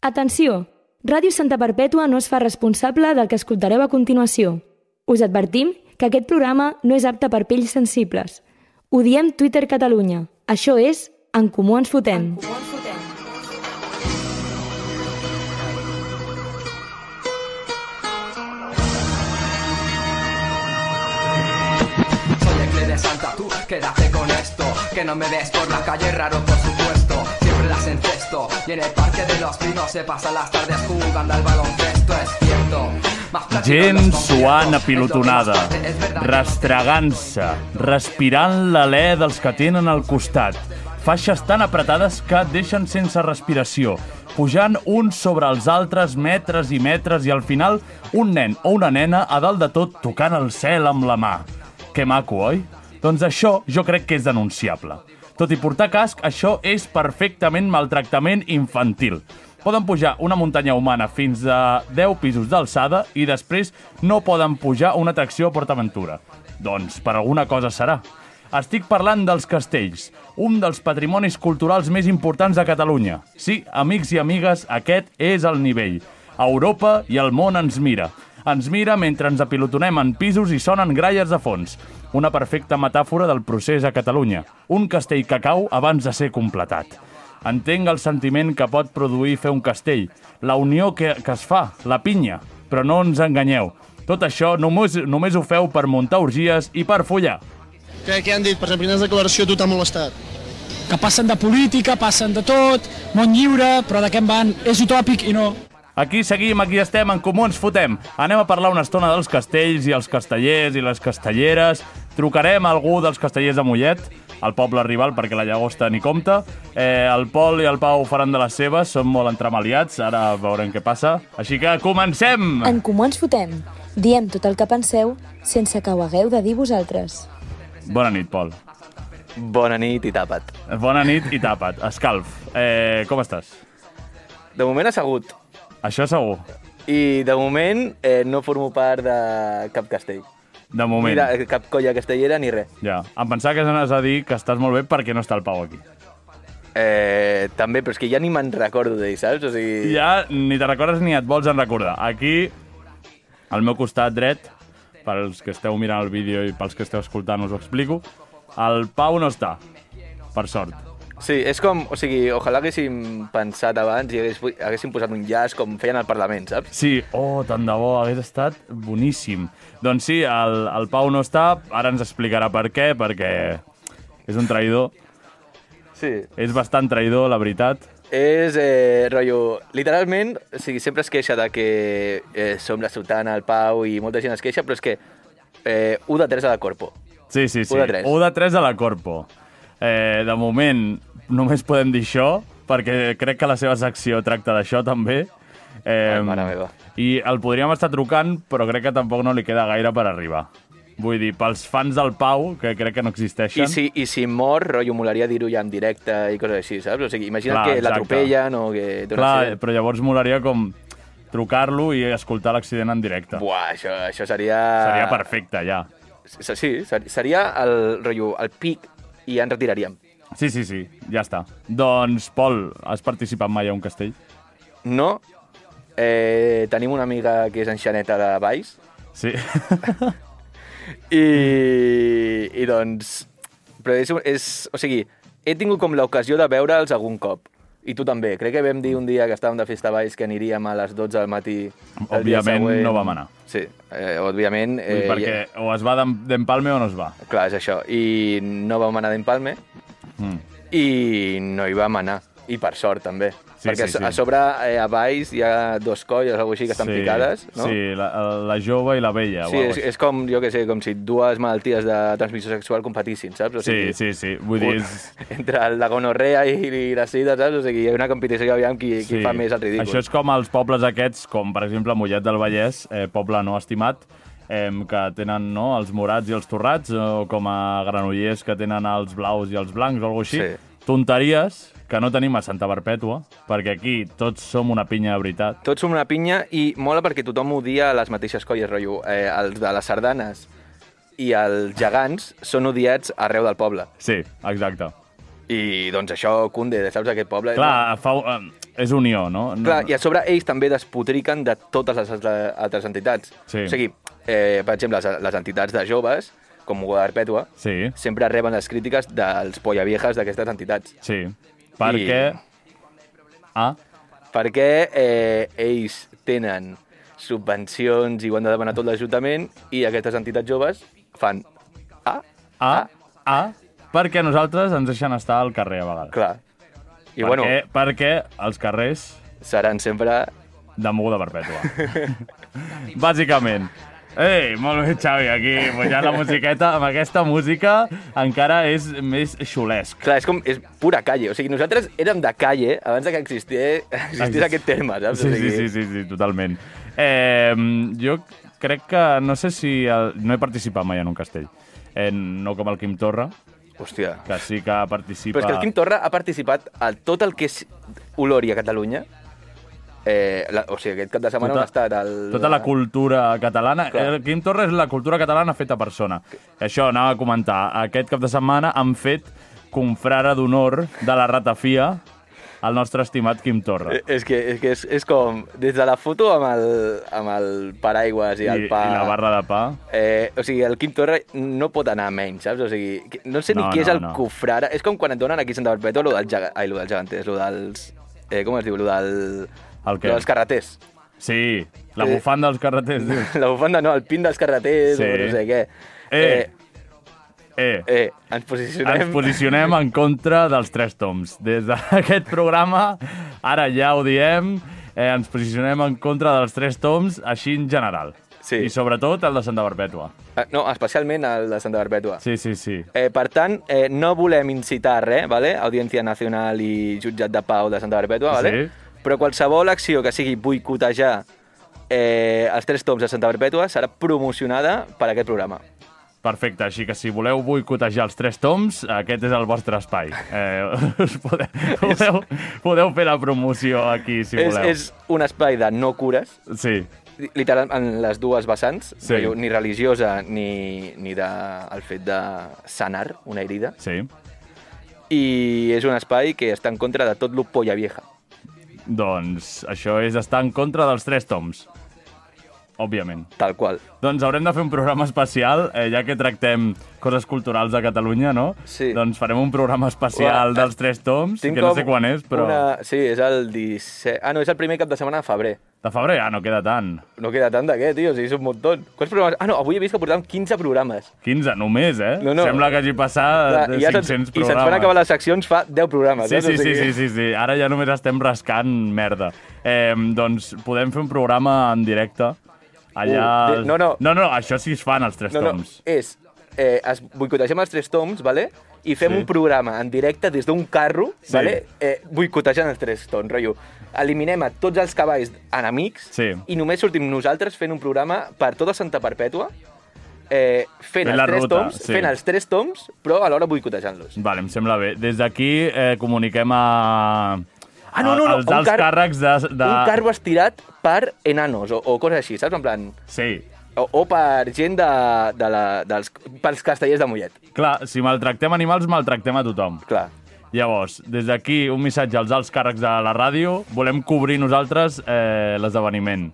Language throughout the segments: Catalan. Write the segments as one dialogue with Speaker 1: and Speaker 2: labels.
Speaker 1: Atenció! Ràdio Santa Perpètua no es fa responsable del que escoltareu a continuació. Us advertim que aquest programa no és apte per pells sensibles. Ho diem Twitter Catalunya. Això és En Comú Ens Fotem.
Speaker 2: Soy el Cle de Santa, tú quédate con esto. Que no me ves por la calle, raro por supuesto. Siempre las encesto. Y en el parque de los pinos se pasan las tardes jugando al baloncesto, es cierto. Más platino en
Speaker 3: Gent
Speaker 2: los
Speaker 3: suant
Speaker 2: conciertos,
Speaker 3: a pilotonada,
Speaker 2: es lo que más parte, es verdad que no
Speaker 3: rastregant-se, respirant l'alè dels que tenen al costat, faixes tan apretades que et deixen sense respiració, pujant uns sobre els altres metres i metres i al final un nen o una nena a dalt de tot tocant el cel amb la mà. Que maco, oi? Doncs això jo crec que és denunciable. Tot i portar casc, això és perfectament maltractament infantil. Poden pujar una muntanya humana fins a 10 pisos d'alçada i després no poden pujar una atracció a PortAventura. Doncs per alguna cosa serà. Estic parlant dels castells, un dels patrimonis culturals més importants de Catalunya. Sí, amics i amigues, aquest és el nivell. Europa i el món ens mira. Ens mira mentre ens apilotonem en pisos i sonen gralles de fons. Una perfecta metàfora del procés a Catalunya. Un castell que cau abans de ser completat. Entenc el sentiment que pot produir fer un castell, la unió que, que es fa, la pinya, però no ens enganyeu. Tot això només, només ho feu per muntar orgies i per follar.
Speaker 4: Què, què han dit? Per exemple, quines declaració a tu t'ha molestat?
Speaker 5: que passen de política, passen de tot, món lliure, però de què en van? És utòpic i no.
Speaker 3: Aquí seguim, aquí estem, en comú ens fotem. Anem a parlar una estona dels castells i els castellers i les castelleres. Trucarem a algú dels castellers de Mollet, al poble rival, perquè la llagosta ni compta. Eh, el Pol i el Pau faran de les seves, són molt entremaliats, ara veurem què passa. Així que comencem!
Speaker 6: En Comú Ens Fotem. Diem tot el que penseu sense que ho hagueu de dir vosaltres.
Speaker 3: Bona nit, Pol.
Speaker 7: Bona nit i tapa't.
Speaker 3: Bona nit i tapa't. Escalf, eh, com estàs?
Speaker 7: De moment assegut.
Speaker 3: Això segur,
Speaker 7: I de moment eh, no formo part de cap castell.
Speaker 3: de moment.
Speaker 7: Ni de cap colla castellera ni res.
Speaker 3: Ja. Em pensava que anaves a dir que estàs molt bé perquè no està el Pau aquí.
Speaker 7: Eh, també, però és que ja ni me'n recordo d'ell, saps? O sigui,
Speaker 3: Ja ni te recordes ni et vols en recordar. Aquí, al meu costat dret, pels que esteu mirant el vídeo i pels que esteu escoltant us ho explico, el Pau no està, per sort.
Speaker 7: Sí, és com... O sigui, ojalà haguéssim pensat abans i hagués, haguéssim posat un llaç com feien al Parlament, saps?
Speaker 3: Sí, oh, tant de bo, hagués estat boníssim. Doncs sí, el, el Pau no està, ara ens explicarà per què, perquè és un traïdor,
Speaker 7: Sí.
Speaker 3: és bastant traïdor, la veritat.
Speaker 7: És, eh, rotllo, literalment, o sigui, sempre es queixa de que eh, som la Sotana, el Pau i molta gent es queixa, però és que eh, 1 de 3 a la Corpo.
Speaker 3: Sí, sí, sí.
Speaker 7: Un de tres.
Speaker 3: Un de tres a la Corpo. Eh, de moment, només podem dir això, perquè crec que la seva secció tracta d'això, també. Eh,
Speaker 7: Ai, mare meva.
Speaker 3: I el podríem estar trucant, però crec que tampoc no li queda gaire per arribar. Vull dir, pels fans del Pau, que crec que no existeixen...
Speaker 7: I si, I si mor, rotllo, molaria dir-ho ja en directe i coses així, saps? O sigui, imagina't
Speaker 3: Clar,
Speaker 7: Clar, que
Speaker 3: exacte.
Speaker 7: l'atropellen o que... té un
Speaker 3: Clar,
Speaker 7: accident.
Speaker 3: però llavors molaria com trucar-lo i escoltar l'accident en directe.
Speaker 7: Buah, això, això seria...
Speaker 3: Seria perfecte, ja.
Speaker 7: perfecte. Sí, ser- seria el, rotllo, el pic i ja ens retiraríem.
Speaker 3: Sí, sí, sí, ja està. Doncs, Pol, has participat mai a un castell?
Speaker 7: No, eh, tenim una amiga que és enxaneta de Valls
Speaker 3: Sí.
Speaker 7: i, i doncs... Però és, és... O sigui, he tingut com l'ocasió de veure'ls algun cop. I tu també. Crec que vam dir un dia que estàvem de festa a Valls que aniríem a les 12 del matí. del dia
Speaker 3: Òbviament,
Speaker 7: següent.
Speaker 3: no vam anar.
Speaker 7: Sí, eh, òbviament... Eh,
Speaker 3: Eh, perquè o es va d'em- d'empalme o no es va.
Speaker 7: Clar, és això. I no vam anar d'empalme
Speaker 3: Mm.
Speaker 7: i no hi vam anar. I per sort, també.
Speaker 3: Sí,
Speaker 7: Perquè
Speaker 3: sí,
Speaker 7: a so-
Speaker 3: sí.
Speaker 7: a sobre, eh, a Valls, hi ha dos colles o alguna així que estan picades, no?
Speaker 3: Sí, la, la jove i la vella.
Speaker 7: Sí, és, és com, jo que sé, com si dues malalties de transmissió sexual competissin, saps? O
Speaker 3: sí, sí, sí. Vull dir, és...
Speaker 7: Entre la gonorrea i, i la sida, saps? O sigui, hi ha una competició, aviam, qui, qui
Speaker 3: sí.
Speaker 7: fa més el ridícul.
Speaker 3: Això és com els pobles aquests, com per exemple Mollet del Vallès, eh, poble no estimat, eh, que tenen no, els morats i els torrats, eh, o com a granollers que tenen els blaus i els blancs o alguna així.
Speaker 7: Sí.
Speaker 3: Tonteries que no tenim a Santa Perpètua, perquè aquí tots som una pinya de veritat.
Speaker 7: Tots som una pinya i mola perquè tothom odia les mateixes colles, rotllo. Eh, els de les sardanes i els gegants són odiats arreu del poble.
Speaker 3: Sí, exacte.
Speaker 7: I doncs això, Cunde, saps aquest poble?
Speaker 3: Clar, fa, eh, és unió, no? no
Speaker 7: Clar, i a sobre ells també despotriquen de totes les altre- altres entitats.
Speaker 3: Sí.
Speaker 7: O sigui, eh, per exemple, les, les entitats de joves, com Guadalpètua,
Speaker 3: Sí.
Speaker 7: sempre reben les crítiques dels pollaviejas d'aquestes entitats.
Speaker 3: Sí, perquè... Ah,
Speaker 7: Perquè eh, ells tenen subvencions i ho han de demanar tot l'Ajuntament i aquestes entitats joves fan... Ah,
Speaker 3: ah, ah, perquè nosaltres ens deixen estar al carrer a vegades.
Speaker 7: clar.
Speaker 3: perquè,
Speaker 7: I bueno,
Speaker 3: perquè els carrers
Speaker 7: seran sempre...
Speaker 3: de moguda perpètua. Bàsicament. Ei, molt bé, Xavi, aquí pujant la musiqueta. Amb aquesta música encara és més xulesc.
Speaker 7: Clar, és com... És pura calle. O sigui, nosaltres érem de calle abans de que existés, existís aquest terme, saps?
Speaker 3: Sí,
Speaker 7: o
Speaker 3: sí,
Speaker 7: sigui,
Speaker 3: sí, sí, sí totalment. Eh, jo crec que... No sé si... El, no he participat mai en un castell. Eh, no com el Quim Torra,
Speaker 7: Hòstia.
Speaker 3: que sí que participa...
Speaker 7: Però és que el Quim Torra ha participat a tot el que és Olori a Catalunya. Eh, la, o sigui, aquest cap de setmana on ha estat? El,
Speaker 3: tota la cultura catalana.
Speaker 7: Clar.
Speaker 3: El Quim Torra és la cultura catalana feta persona. I això anava a comentar. Aquest cap de setmana han fet confrare d'honor de la ratafia al nostre estimat Quim Torra.
Speaker 7: Eh, És que, és, que és, és com, des de la foto amb el, amb el paraigües i, el pa...
Speaker 3: I la barra de pa.
Speaker 7: Eh, o sigui, el Quim Torra no pot anar menys, saps? O sigui, que- no sé ni
Speaker 3: No,
Speaker 7: qui és
Speaker 3: no,
Speaker 7: el
Speaker 3: no.
Speaker 7: cofrare. És com quan et donen aquí a Santa Perpètua lo del, gega... Ai, lo del geganters, lo dels... Eh, com es diu? Lo del...
Speaker 3: El què?
Speaker 7: Lo dels carreters.
Speaker 3: Sí, la
Speaker 7: Eh.
Speaker 3: bufanda dels carreters. diu.
Speaker 7: La bufanda, no, el pin dels carreters,
Speaker 3: Sí.
Speaker 7: o no sé què.
Speaker 3: Eh. Eh,
Speaker 7: eh, eh ens posicionem...
Speaker 3: ens posicionem en contra dels tres toms. Des d'aquest programa, ara ja ho diem, eh, ens posicionem en contra dels tres toms, així en general.
Speaker 7: Sí.
Speaker 3: I sobretot el de Santa Perpètua.
Speaker 7: Ah, No, especialment el de Santa Perpètua.
Speaker 3: Sí, sí, sí.
Speaker 7: Eh, per tant, eh, no volem incitar res, vale? Audiència Nacional i Jutjat de Pau de Santa Perpètua, vale?
Speaker 3: Sí.
Speaker 7: però qualsevol acció que sigui boicotejar eh, els tres toms de Santa Perpètua serà promocionada per aquest programa.
Speaker 3: Perfecte, així que si voleu boicotejar els tres toms, aquest és el vostre espai. Eh, us podeu, podeu, podeu fer la promoció aquí, si
Speaker 7: és,
Speaker 3: voleu.
Speaker 7: és un espai de no cures,
Speaker 3: Sí,
Speaker 7: literal, en les dues vessants,
Speaker 3: Sí.
Speaker 7: rotllo, ni religiosa ni, ni de, el fet de sanar una herida,
Speaker 3: sí.
Speaker 7: i és un espai que està en contra de tot lo polla vieja.
Speaker 3: Doncs això és estar en contra dels tres toms. Òbviament.
Speaker 7: Tal qual.
Speaker 3: Doncs haurem de fer un programa especial, eh, ja que tractem coses culturals de Catalunya, no?
Speaker 7: Sí.
Speaker 3: Doncs farem un programa especial
Speaker 7: Uah,
Speaker 3: dels tres toms,
Speaker 7: Tinc
Speaker 3: que no
Speaker 7: com
Speaker 3: sé quan és, però...
Speaker 7: Una... Sí, és el 17... Ah, no, és el primer cap de setmana de febrer.
Speaker 3: De febrer ja no queda tant.
Speaker 7: No queda tant de què, tio, o sigui, és un muntó. Quants programes? Ah, no, avui he vist que portàvem 15 programes.
Speaker 3: 15 només, eh?
Speaker 7: No, no.
Speaker 3: Sembla que hagi passat
Speaker 7: Clar,
Speaker 3: Ah, de
Speaker 7: i ja se'ns-
Speaker 3: 500
Speaker 7: I se'ns
Speaker 3: programes.
Speaker 7: van acabar les seccions fa 10 programes.
Speaker 3: Sí, sí,
Speaker 7: saps? O
Speaker 3: sí,
Speaker 7: sigui,
Speaker 3: sí, sí, sí. Ara ja només estem rascant merda. Eh, doncs podem fer un programa en directe allà...
Speaker 7: Uh, de- no, no.
Speaker 3: No, no, això sí es fan els tres
Speaker 7: No, no,
Speaker 3: toms.
Speaker 7: és... Eh, es boicotegem els tres toms, vale? i fem
Speaker 3: Sí.
Speaker 7: sí. un programa en directe des d'un carro,
Speaker 3: Sí.
Speaker 7: vale? eh, boicotejant els tres toms, rotllo. Eliminem a tots els cavalls enemics
Speaker 3: Sí.
Speaker 7: i només sortim nosaltres fent un programa per tota Santa Perpètua, eh, fent,
Speaker 3: Fent la
Speaker 7: els tres
Speaker 3: ruta,
Speaker 7: toms,
Speaker 3: sí.
Speaker 7: fent els tres toms, però alhora boicotejant-los.
Speaker 3: Vale, em sembla bé. Des d'aquí eh, comuniquem a...
Speaker 7: Ah, no, no, no.
Speaker 3: Als alts
Speaker 7: car-
Speaker 3: càrrecs de... de...
Speaker 7: Un carro estirat per enanos o, o coses així, saps? En plan...
Speaker 3: Sí.
Speaker 7: O, o per gent de, de la, dels, pels castellers de Mollet,
Speaker 3: Clar, si maltractem animals, maltractem a tothom.
Speaker 7: clar.
Speaker 3: Llavors, des d'aquí, un missatge als alts càrrecs de la ràdio. Volem cobrir nosaltres eh, l'esdeveniment.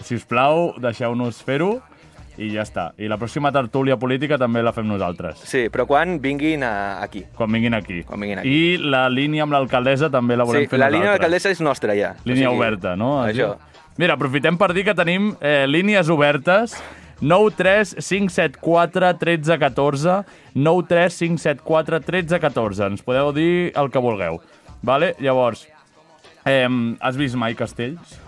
Speaker 3: Si us plau, deixeu-nos fer-ho i ja està. I la pròxima tertúlia política també la fem nosaltres,
Speaker 7: Sí, però quan vinguin a, aquí.
Speaker 3: quan vinguin aquí.
Speaker 7: Quan vinguin aquí.
Speaker 3: I la línia amb l'alcaldessa també la volem
Speaker 7: Sí,
Speaker 3: fer
Speaker 7: la línia
Speaker 3: nosaltres.
Speaker 7: d'alcaldessa és nostra, ja.
Speaker 3: Línia
Speaker 7: O sigui,
Speaker 3: oberta, no?
Speaker 7: Això.
Speaker 3: Mira, aprofitem per dir que tenim eh, línies obertes 9 3 5 7 4 13 14 9 3 5 7 4 13 14 Ens podeu dir el que vulgueu. Vale? Llavors, eh, has vist mai castells?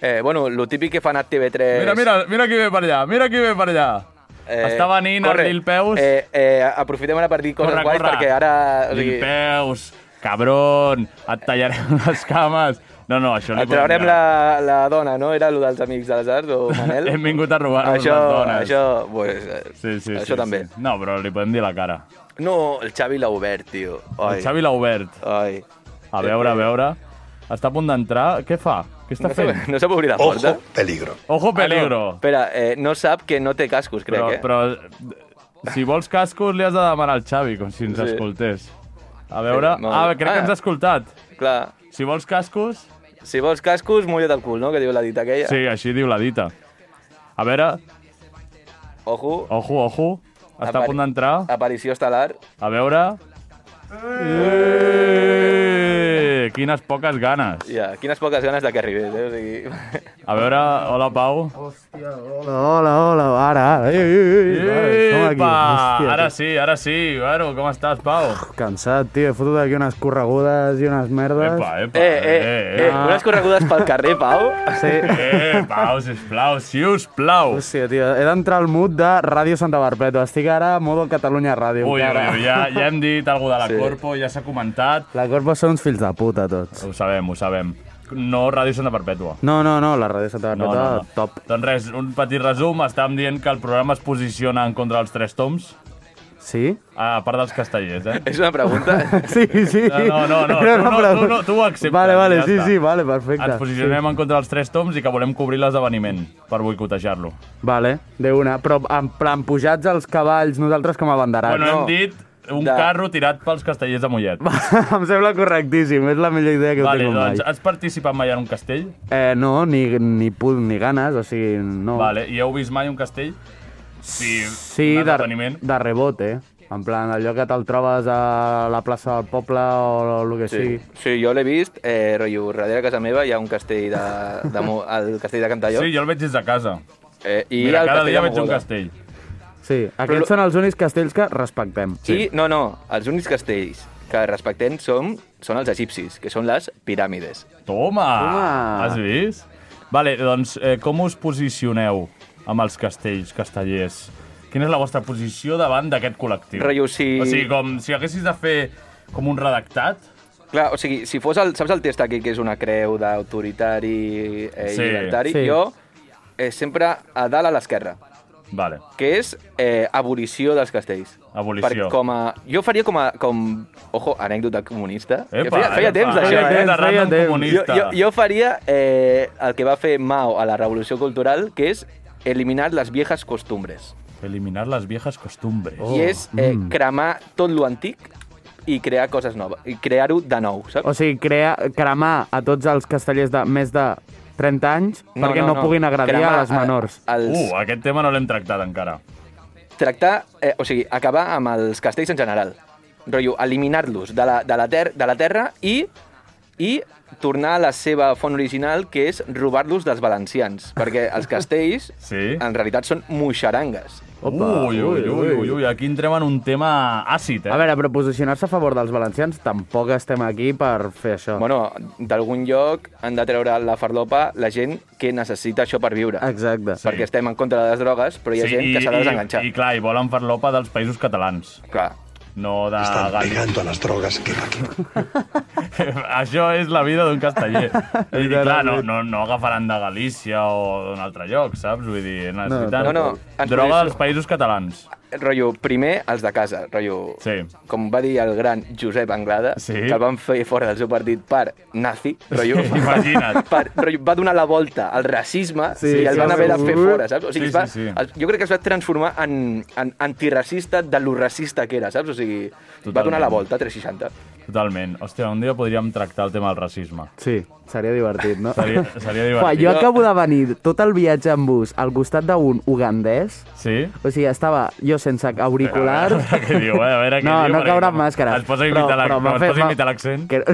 Speaker 7: Eh, bueno, lo típic que fan a TV3...
Speaker 3: Mira, mira, mira qui ve per allà, mira qui ve per allà. Eh, Està venint
Speaker 7: corre.
Speaker 3: el Lil Peus. Eh,
Speaker 7: Eh, eh, aprofitem ara per dir coses
Speaker 3: corre,
Speaker 7: guais,
Speaker 3: corre.
Speaker 7: perquè ara... O sigui,
Speaker 3: Lil Peus, cabron, et tallarem les cames. No, no, això no hi
Speaker 7: et
Speaker 3: podem
Speaker 7: traurem
Speaker 3: dir.
Speaker 7: la, la dona, no? Era lo dels amics de les arts, o Manel?
Speaker 3: Hem vingut a robar-nos
Speaker 7: això,
Speaker 3: les dones.
Speaker 7: Això, pues, eh,
Speaker 3: Sí, sí,
Speaker 7: això
Speaker 3: sí,
Speaker 7: també.
Speaker 3: Sí. No, però li podem dir la cara.
Speaker 7: No, el Xavi l'ha obert, tio. Ai.
Speaker 3: El Xavi l'ha obert.
Speaker 7: Ai.
Speaker 3: A veure, a veure. Està a punt d'entrar. Què fa? Què està
Speaker 7: No
Speaker 3: fent?
Speaker 7: sap, no sap obrir la porta?
Speaker 3: Ojo peligro.
Speaker 7: Espera, eh, no sap que no té cascos, crec,
Speaker 3: Però,
Speaker 7: eh?
Speaker 3: però si vols cascos li has de demanar al Xavi, com si ens
Speaker 7: Sí.
Speaker 3: escoltés. A veure...
Speaker 7: Sí, molt
Speaker 3: Ah,
Speaker 7: bé.
Speaker 3: crec que ens
Speaker 7: Ah.
Speaker 3: ha escoltat.
Speaker 7: Clar,
Speaker 3: Si vols cascos,
Speaker 7: Si vols cascos, mulla't el cul, no?, que diu la dita aquella.
Speaker 3: Sí, així diu la dita. A veure,
Speaker 7: Ojo,
Speaker 3: ojo, ojo, està a
Speaker 7: Apari-
Speaker 3: punt d'entrar.
Speaker 7: aparició estel·lar.
Speaker 3: A veure... Eh! Quines poques ganes.
Speaker 7: Ja, quines poques ganes de que arribés, eh? O sigui...
Speaker 3: A veure, hola, Pau.
Speaker 8: Hola, hola, hola, ara, ara. Ei, ei, ei, ara, som aquí.
Speaker 3: Epa!
Speaker 8: Hòstia,
Speaker 3: Ara
Speaker 8: que
Speaker 3: sí, ara sí. Bueno, com estàs, Pau?
Speaker 8: Cansat, tio, he fotut aquí unes corregudes i unes merdes.
Speaker 3: Epa, epa,
Speaker 7: Eh, eh, eh, unes corregudes pel carrer, Pau.
Speaker 8: Sí.
Speaker 3: Eh, Pau, sisplau, si us plau.
Speaker 8: Hòstia, tio, he d'entrar al mood de Ràdio Santa Barpeta. Estic ara a modo Catalunya Ràdio.
Speaker 3: Ui, ui,
Speaker 8: encara.
Speaker 3: ui, ja, ja hem dit alguna de la
Speaker 7: Sí.
Speaker 3: Corpo, ja s'ha comentat.
Speaker 8: La Corpo són uns fills de puta, tots.
Speaker 3: Ho sabem, ho sabem. No Ràdio Santa Perpètua.
Speaker 8: No, no, no, la Ràdio Santa Barpeta, top.
Speaker 3: Doncs res, un petit resum. Estàvem dient que el programa es posiciona en contra dels tres toms,
Speaker 8: Sí?
Speaker 3: a part dels castellers, eh?
Speaker 7: És una pregunta.
Speaker 8: Sí, sí.
Speaker 3: No, no, no,
Speaker 8: Era
Speaker 3: tu
Speaker 8: una
Speaker 3: no,
Speaker 8: pregunta.
Speaker 3: tu no, tu ho acceptes,
Speaker 8: Vale, vale,
Speaker 3: ja
Speaker 8: sí,
Speaker 3: està.
Speaker 8: sí, vale, perfecte.
Speaker 3: Ens posicionem en contra dels tres toms i que volem cobrir l'esdeveniment per boicotejar-lo.
Speaker 8: Sí. Vale, de una. Però en plan, pujats els cavalls, nosaltres com a banderats.
Speaker 3: Bueno,
Speaker 8: Bueno,
Speaker 3: hem
Speaker 7: no.
Speaker 3: dit un
Speaker 7: De-
Speaker 3: carro tirat pels castellers de Mollet.
Speaker 8: em sembla correctíssim, és la millor idea que
Speaker 3: Vale,
Speaker 8: he tingut
Speaker 3: doncs,
Speaker 8: mai.
Speaker 3: has participat mai en un castell?
Speaker 8: Eh, no, ni, ni put ni ganes, o sigui, no.
Speaker 3: Vale, i heu vist mai un castell? Sí,
Speaker 8: Sí,
Speaker 3: un
Speaker 8: de,
Speaker 3: esdeveniment.
Speaker 8: de rebot, eh? En plan, allò que te'l trobes a la plaça del poble o el que
Speaker 7: Sí,
Speaker 8: sigui.
Speaker 7: sí jo l'he vist, eh, rotllo, darrere casa meva hi ha un castell de, de, Mo- el castell de Cantalló.
Speaker 3: Sí, jo el veig des de casa.
Speaker 7: eh, i
Speaker 3: Mira, cada
Speaker 7: el castell
Speaker 3: dia
Speaker 7: de
Speaker 3: veig un
Speaker 7: Mogoda.
Speaker 3: castell.
Speaker 8: Sí, aquests
Speaker 7: Però-
Speaker 8: són els únics castells que respectem.
Speaker 7: Sí. I, no, no, els únics castells que respectem som, són els egipcis, que són les piràmides.
Speaker 3: Toma!
Speaker 8: Toma!
Speaker 3: Has vist? Vale, doncs, eh, com us posicioneu amb els castells castellers? Quina és la vostra posició davant d'aquest col·lectiu?
Speaker 7: Rotllo, si-
Speaker 3: O sigui, com si haguessis de fer com un redactat,
Speaker 7: Clar, o sigui, si fos el... Saps el test aquí, que és una creu d'autoritari eh,
Speaker 3: Sí.
Speaker 7: sí, llibertari?
Speaker 8: Sí.
Speaker 7: Sí. Jo eh, sempre a dalt a l'esquerra,
Speaker 3: vale,
Speaker 7: que és eh, abolició dels castells.
Speaker 3: Abolició.
Speaker 7: Per, com a, jo faria com a... Com, ojo, anècdota comunista.
Speaker 3: Epa,
Speaker 7: que feia, feia
Speaker 3: epa.
Speaker 7: temps
Speaker 3: Feia
Speaker 7: d'això, eh?
Speaker 3: temps, feia
Speaker 8: Feia temps.
Speaker 7: Jo,
Speaker 3: comunista.
Speaker 7: jo, jo faria eh, el que va fer Mao a la Revolució Cultural, que és eliminar les viejas costumbres.
Speaker 3: Eliminar les viejas costumbres.
Speaker 7: Oh. I és eh, cremar tot lo antic i crear coses noves. I crear-ho de nou, saps?
Speaker 8: O sigui, crea, cremar a tots els castellers de més de 30 anys perquè no, puguin agradir
Speaker 7: Cremar
Speaker 8: a les menors.
Speaker 7: A, els,
Speaker 3: Uh, aquest tema no l'hem tractat encara.
Speaker 7: Tractar, eh, o sigui, acabar amb els castells en general. Rotllo, eliminar-los de, la, de, la ter de la terra i i tornar a la seva font original, que és robar-los dels valencians. Perquè els castells,
Speaker 3: Sí.
Speaker 7: en realitat, són moixerangues.
Speaker 8: Opa,
Speaker 3: ui, ui, ui, ui, ui, aquí entrem en un tema àcid, eh?
Speaker 8: A veure, però posicionar-se a favor dels valencians tampoc estem aquí per fer això.
Speaker 7: Bueno, d'algun lloc han de treure la farlopa la gent que necessita això per viure.
Speaker 8: Exacte.
Speaker 7: Perquè estem en contra de les drogues, però hi ha gent que s'ha de desenganxar.
Speaker 3: I, I clar, i volen farlopa dels països catalans,
Speaker 7: Clar.
Speaker 3: no de Galícia.
Speaker 9: a las drogas que
Speaker 3: Això és la vida d'un casteller. I clar, no, no, no agafaran de Galícia o d'un altre lloc, saps? Vull dir, necessiten
Speaker 7: No, no, ens
Speaker 3: droga
Speaker 7: coneixo.
Speaker 3: dels països catalans.
Speaker 7: Rotllo, primer els de casa, rotllo...
Speaker 3: Sí.
Speaker 7: Com va dir el gran Josep Anglada,
Speaker 3: Sí.
Speaker 7: que el van fer fora del seu partit per nazi, rotllo...
Speaker 3: Sí, imagina't.
Speaker 7: Per, rotllo, va donar la volta al racisme
Speaker 8: Sí,
Speaker 7: i el
Speaker 8: sí,
Speaker 7: van haver de
Speaker 8: sí.
Speaker 7: fer fora, saps? O sigui,
Speaker 3: Sí,
Speaker 7: es va,
Speaker 3: sí, sí.
Speaker 7: el- jo crec que es va transformar en, en antiracista de lo racista que era, saps? O sigui, va
Speaker 3: Totalment.
Speaker 7: donar la volta a 360.
Speaker 3: Totalment. Hòstia, un dia podríem tractar el tema del racisme.
Speaker 8: Sí, seria divertit, no?
Speaker 3: Seria, seria
Speaker 8: Fa,
Speaker 3: divertit.
Speaker 8: jo acabo de venir tot el viatge en bus al costat d'un ugandès.
Speaker 3: Sí?
Speaker 8: O sigui, estava jo sense auriculars.
Speaker 3: A veure què diu, eh? A veure què
Speaker 8: no,
Speaker 3: diu.
Speaker 8: no
Speaker 3: perquè
Speaker 8: caure amb
Speaker 3: com-
Speaker 8: màscara.
Speaker 3: Et posa imitar l'ac- no, et posa imitar l'accent?
Speaker 8: Que...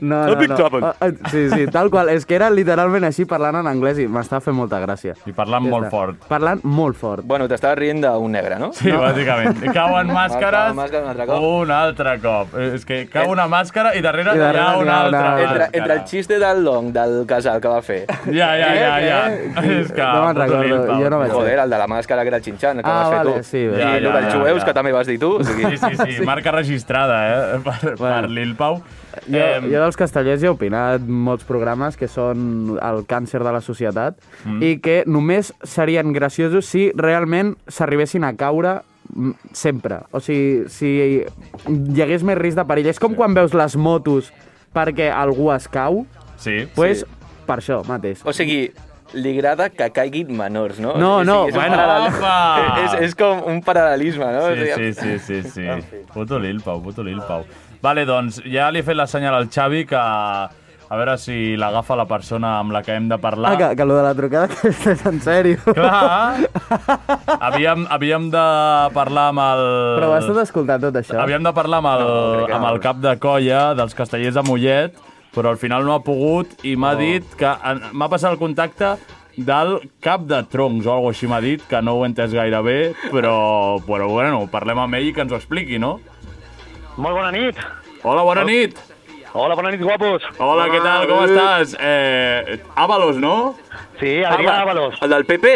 Speaker 8: No, no,
Speaker 7: Epic
Speaker 8: no.
Speaker 7: trouble.
Speaker 8: Ah, ah, Sí, sí, tal qual. És que era literalment així parlant en anglès i m'estava fent molta gràcia.
Speaker 3: I parlant
Speaker 8: Ja
Speaker 3: molt
Speaker 8: està.
Speaker 3: fort.
Speaker 8: Parlant molt fort.
Speaker 7: Bueno, t'estaves rient d'un negre, no?
Speaker 3: Sí, bàsicament. Cauen màscares
Speaker 7: màscara un altre cop.
Speaker 3: un altre cop. Eh, És que cau una màscara i darrere,
Speaker 8: I
Speaker 3: hi
Speaker 8: darrere
Speaker 3: ha una
Speaker 8: hi ha una-
Speaker 3: altra
Speaker 7: Entre,
Speaker 3: màscara.
Speaker 7: entre el xiste del long del casal que va fer.
Speaker 3: Ja, ja, ja, ja. És que...
Speaker 8: No me'n
Speaker 3: puto
Speaker 8: recordo,
Speaker 3: Lil Pau,
Speaker 8: jo no vaig
Speaker 3: tio.
Speaker 7: Joder, el de la màscara que era el xinxant, el que
Speaker 8: Ah,
Speaker 7: vas fer
Speaker 8: vale,
Speaker 7: tu.
Speaker 8: sí,
Speaker 7: I
Speaker 8: ja,
Speaker 7: el
Speaker 3: ja,
Speaker 7: dels
Speaker 3: ja,
Speaker 7: jueus,
Speaker 3: ja.
Speaker 7: que també vas dir tu. O sigui,
Speaker 3: Sí, sí, sí, marca registrada, eh? Per, bueno. per Lil Pau. Eh,
Speaker 8: Jo,
Speaker 3: Em,
Speaker 8: jo dels castellers ja he opinat molts programes que són el càncer de la societat mm. i que només serien graciosos si realment s'arribessin a caure mm, sempre. O sigui, si hi hagués més risc de perill. És com sí. quan veus les motos perquè algú es cau,
Speaker 3: Sí.
Speaker 8: doncs pues, per això mateix.
Speaker 7: O sigui, li agrada que caiguin menors, no?
Speaker 8: No,
Speaker 7: o sigui,
Speaker 8: no,
Speaker 7: és un
Speaker 8: bueno.
Speaker 3: Opa!
Speaker 7: És, és com un paral·lelisme, no? o sigui,
Speaker 3: Sí, sí, sí, sí, sí. Puto Lil Pau, puto Lil Pau. Vale, doncs ja li he fet la senyal al Xavi que A veure si l'agafa la persona amb la que hem de parlar.
Speaker 10: Ah, que, que lo de la trucada que és en sèrio.
Speaker 3: Clar. Ah. havíem, havíem de parlar amb el...
Speaker 10: Però ho has tot escoltat tot això?
Speaker 3: Havíem de parlar amb el,
Speaker 10: No, crec que
Speaker 3: no, amb
Speaker 10: no.
Speaker 3: el cap de colla dels castellers de Mollet, però al final no ha pogut i m'ha oh. dit que... en- M'ha passat el contacte del cap de troncs o alguna així m'ha dit, que no ho he entès gaire bé, però, però bueno, parlem amb ell i que ens ho expliqui, no?
Speaker 8: Molt bona nit.
Speaker 3: Hola, bona nit!
Speaker 8: Hola, bona nit, guapos.
Speaker 3: Hola, què tal? Com estàs? Eh, Avalos, no?
Speaker 8: Sí, Adrià Ábalos.
Speaker 3: El del PP?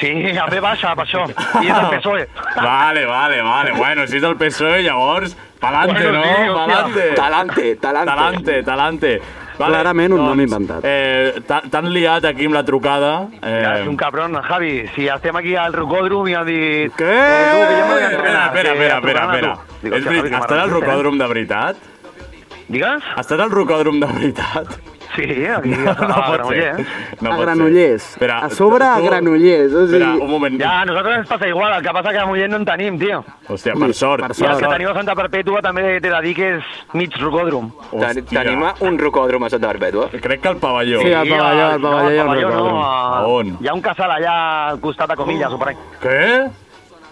Speaker 8: Sí, a B baixa, per això. I és el PSOE.
Speaker 3: Vale, vale, vale. Bueno, si és el PSOE, E, llavors, pa'lante,
Speaker 8: Bueno,
Speaker 3: no?
Speaker 8: sí, hòstia.
Speaker 3: Pa'lante.
Speaker 7: Talante, talante.
Speaker 3: Talante, talante. doncs,
Speaker 10: Clarament un nom inventat.
Speaker 3: Eh, t'ha- T'han liat aquí amb la trucada.
Speaker 8: Ja, és
Speaker 3: Eh,
Speaker 8: un cabron, Javi. Si estem aquí al rocòdrom i han dit...
Speaker 3: Què?
Speaker 8: Eh, tu, que jo me voy a
Speaker 3: Espera,
Speaker 8: entrenar.
Speaker 3: espera,
Speaker 8: Sí,
Speaker 3: espera,
Speaker 8: a
Speaker 3: espera.
Speaker 8: tornar-la
Speaker 3: espera.
Speaker 8: tu. Digo,
Speaker 3: És
Speaker 8: hòstia, Javi,
Speaker 3: veritat,
Speaker 8: que
Speaker 3: has estat al
Speaker 8: m'arranjo, eh?
Speaker 3: rocòdrom de veritat?
Speaker 8: Digues?
Speaker 3: Has estat al rocòdrom de veritat?
Speaker 8: Sí, aquí a, a Granollers.
Speaker 3: No
Speaker 10: a
Speaker 3: pot ser.
Speaker 10: Granollers.
Speaker 3: Espera,
Speaker 10: a sobre a
Speaker 3: tu-
Speaker 10: Granollers. O sigui,
Speaker 3: Espera, un moment.
Speaker 8: Ja, a nosaltres ens passa igual, el que passa que a Mollet no en tenim, tio.
Speaker 3: Hòstia, per sort.
Speaker 10: Per
Speaker 8: I el
Speaker 10: sort.
Speaker 8: que tenim a Santa Perpètua també t'he de dir que és mig rocòdrom.
Speaker 7: Ten
Speaker 3: Hòstia.
Speaker 7: tenim un rocòdrom a Santa Barbètua.
Speaker 3: Crec que el pavelló.
Speaker 10: Sí, al
Speaker 8: I
Speaker 10: pavelló, al pavelló hi ha un rocòdrom.
Speaker 8: a-
Speaker 3: A on?
Speaker 8: Hi ha un casal allà al costat de Comillas, o per aquí.
Speaker 3: Què?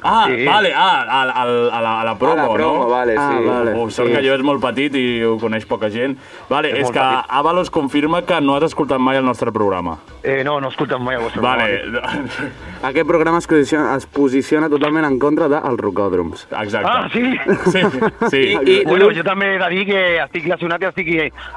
Speaker 3: Ah,
Speaker 8: Sí.
Speaker 3: vale, ah, a, a, a, la, a la promo,
Speaker 7: a la promo,
Speaker 3: no?
Speaker 7: vale,
Speaker 10: Ah,
Speaker 7: sí.
Speaker 10: vale.
Speaker 3: Oh, sort que jo és molt petit i ho coneix poca gent. Vale, és,
Speaker 8: molt
Speaker 3: que
Speaker 8: petit.
Speaker 3: Avalos confirma que no has escoltat mai el nostre programa.
Speaker 8: Eh, no, no escolta'm mai el vostre programa.
Speaker 3: Vale,
Speaker 10: Aquest programa es posiciona, es posiciona totalment en contra dels rocòdroms.
Speaker 3: exacte.
Speaker 8: Ah, sí?
Speaker 3: Sí, sí.
Speaker 7: I, i
Speaker 8: Bueno, jo també he de dir que estic lesionat i estic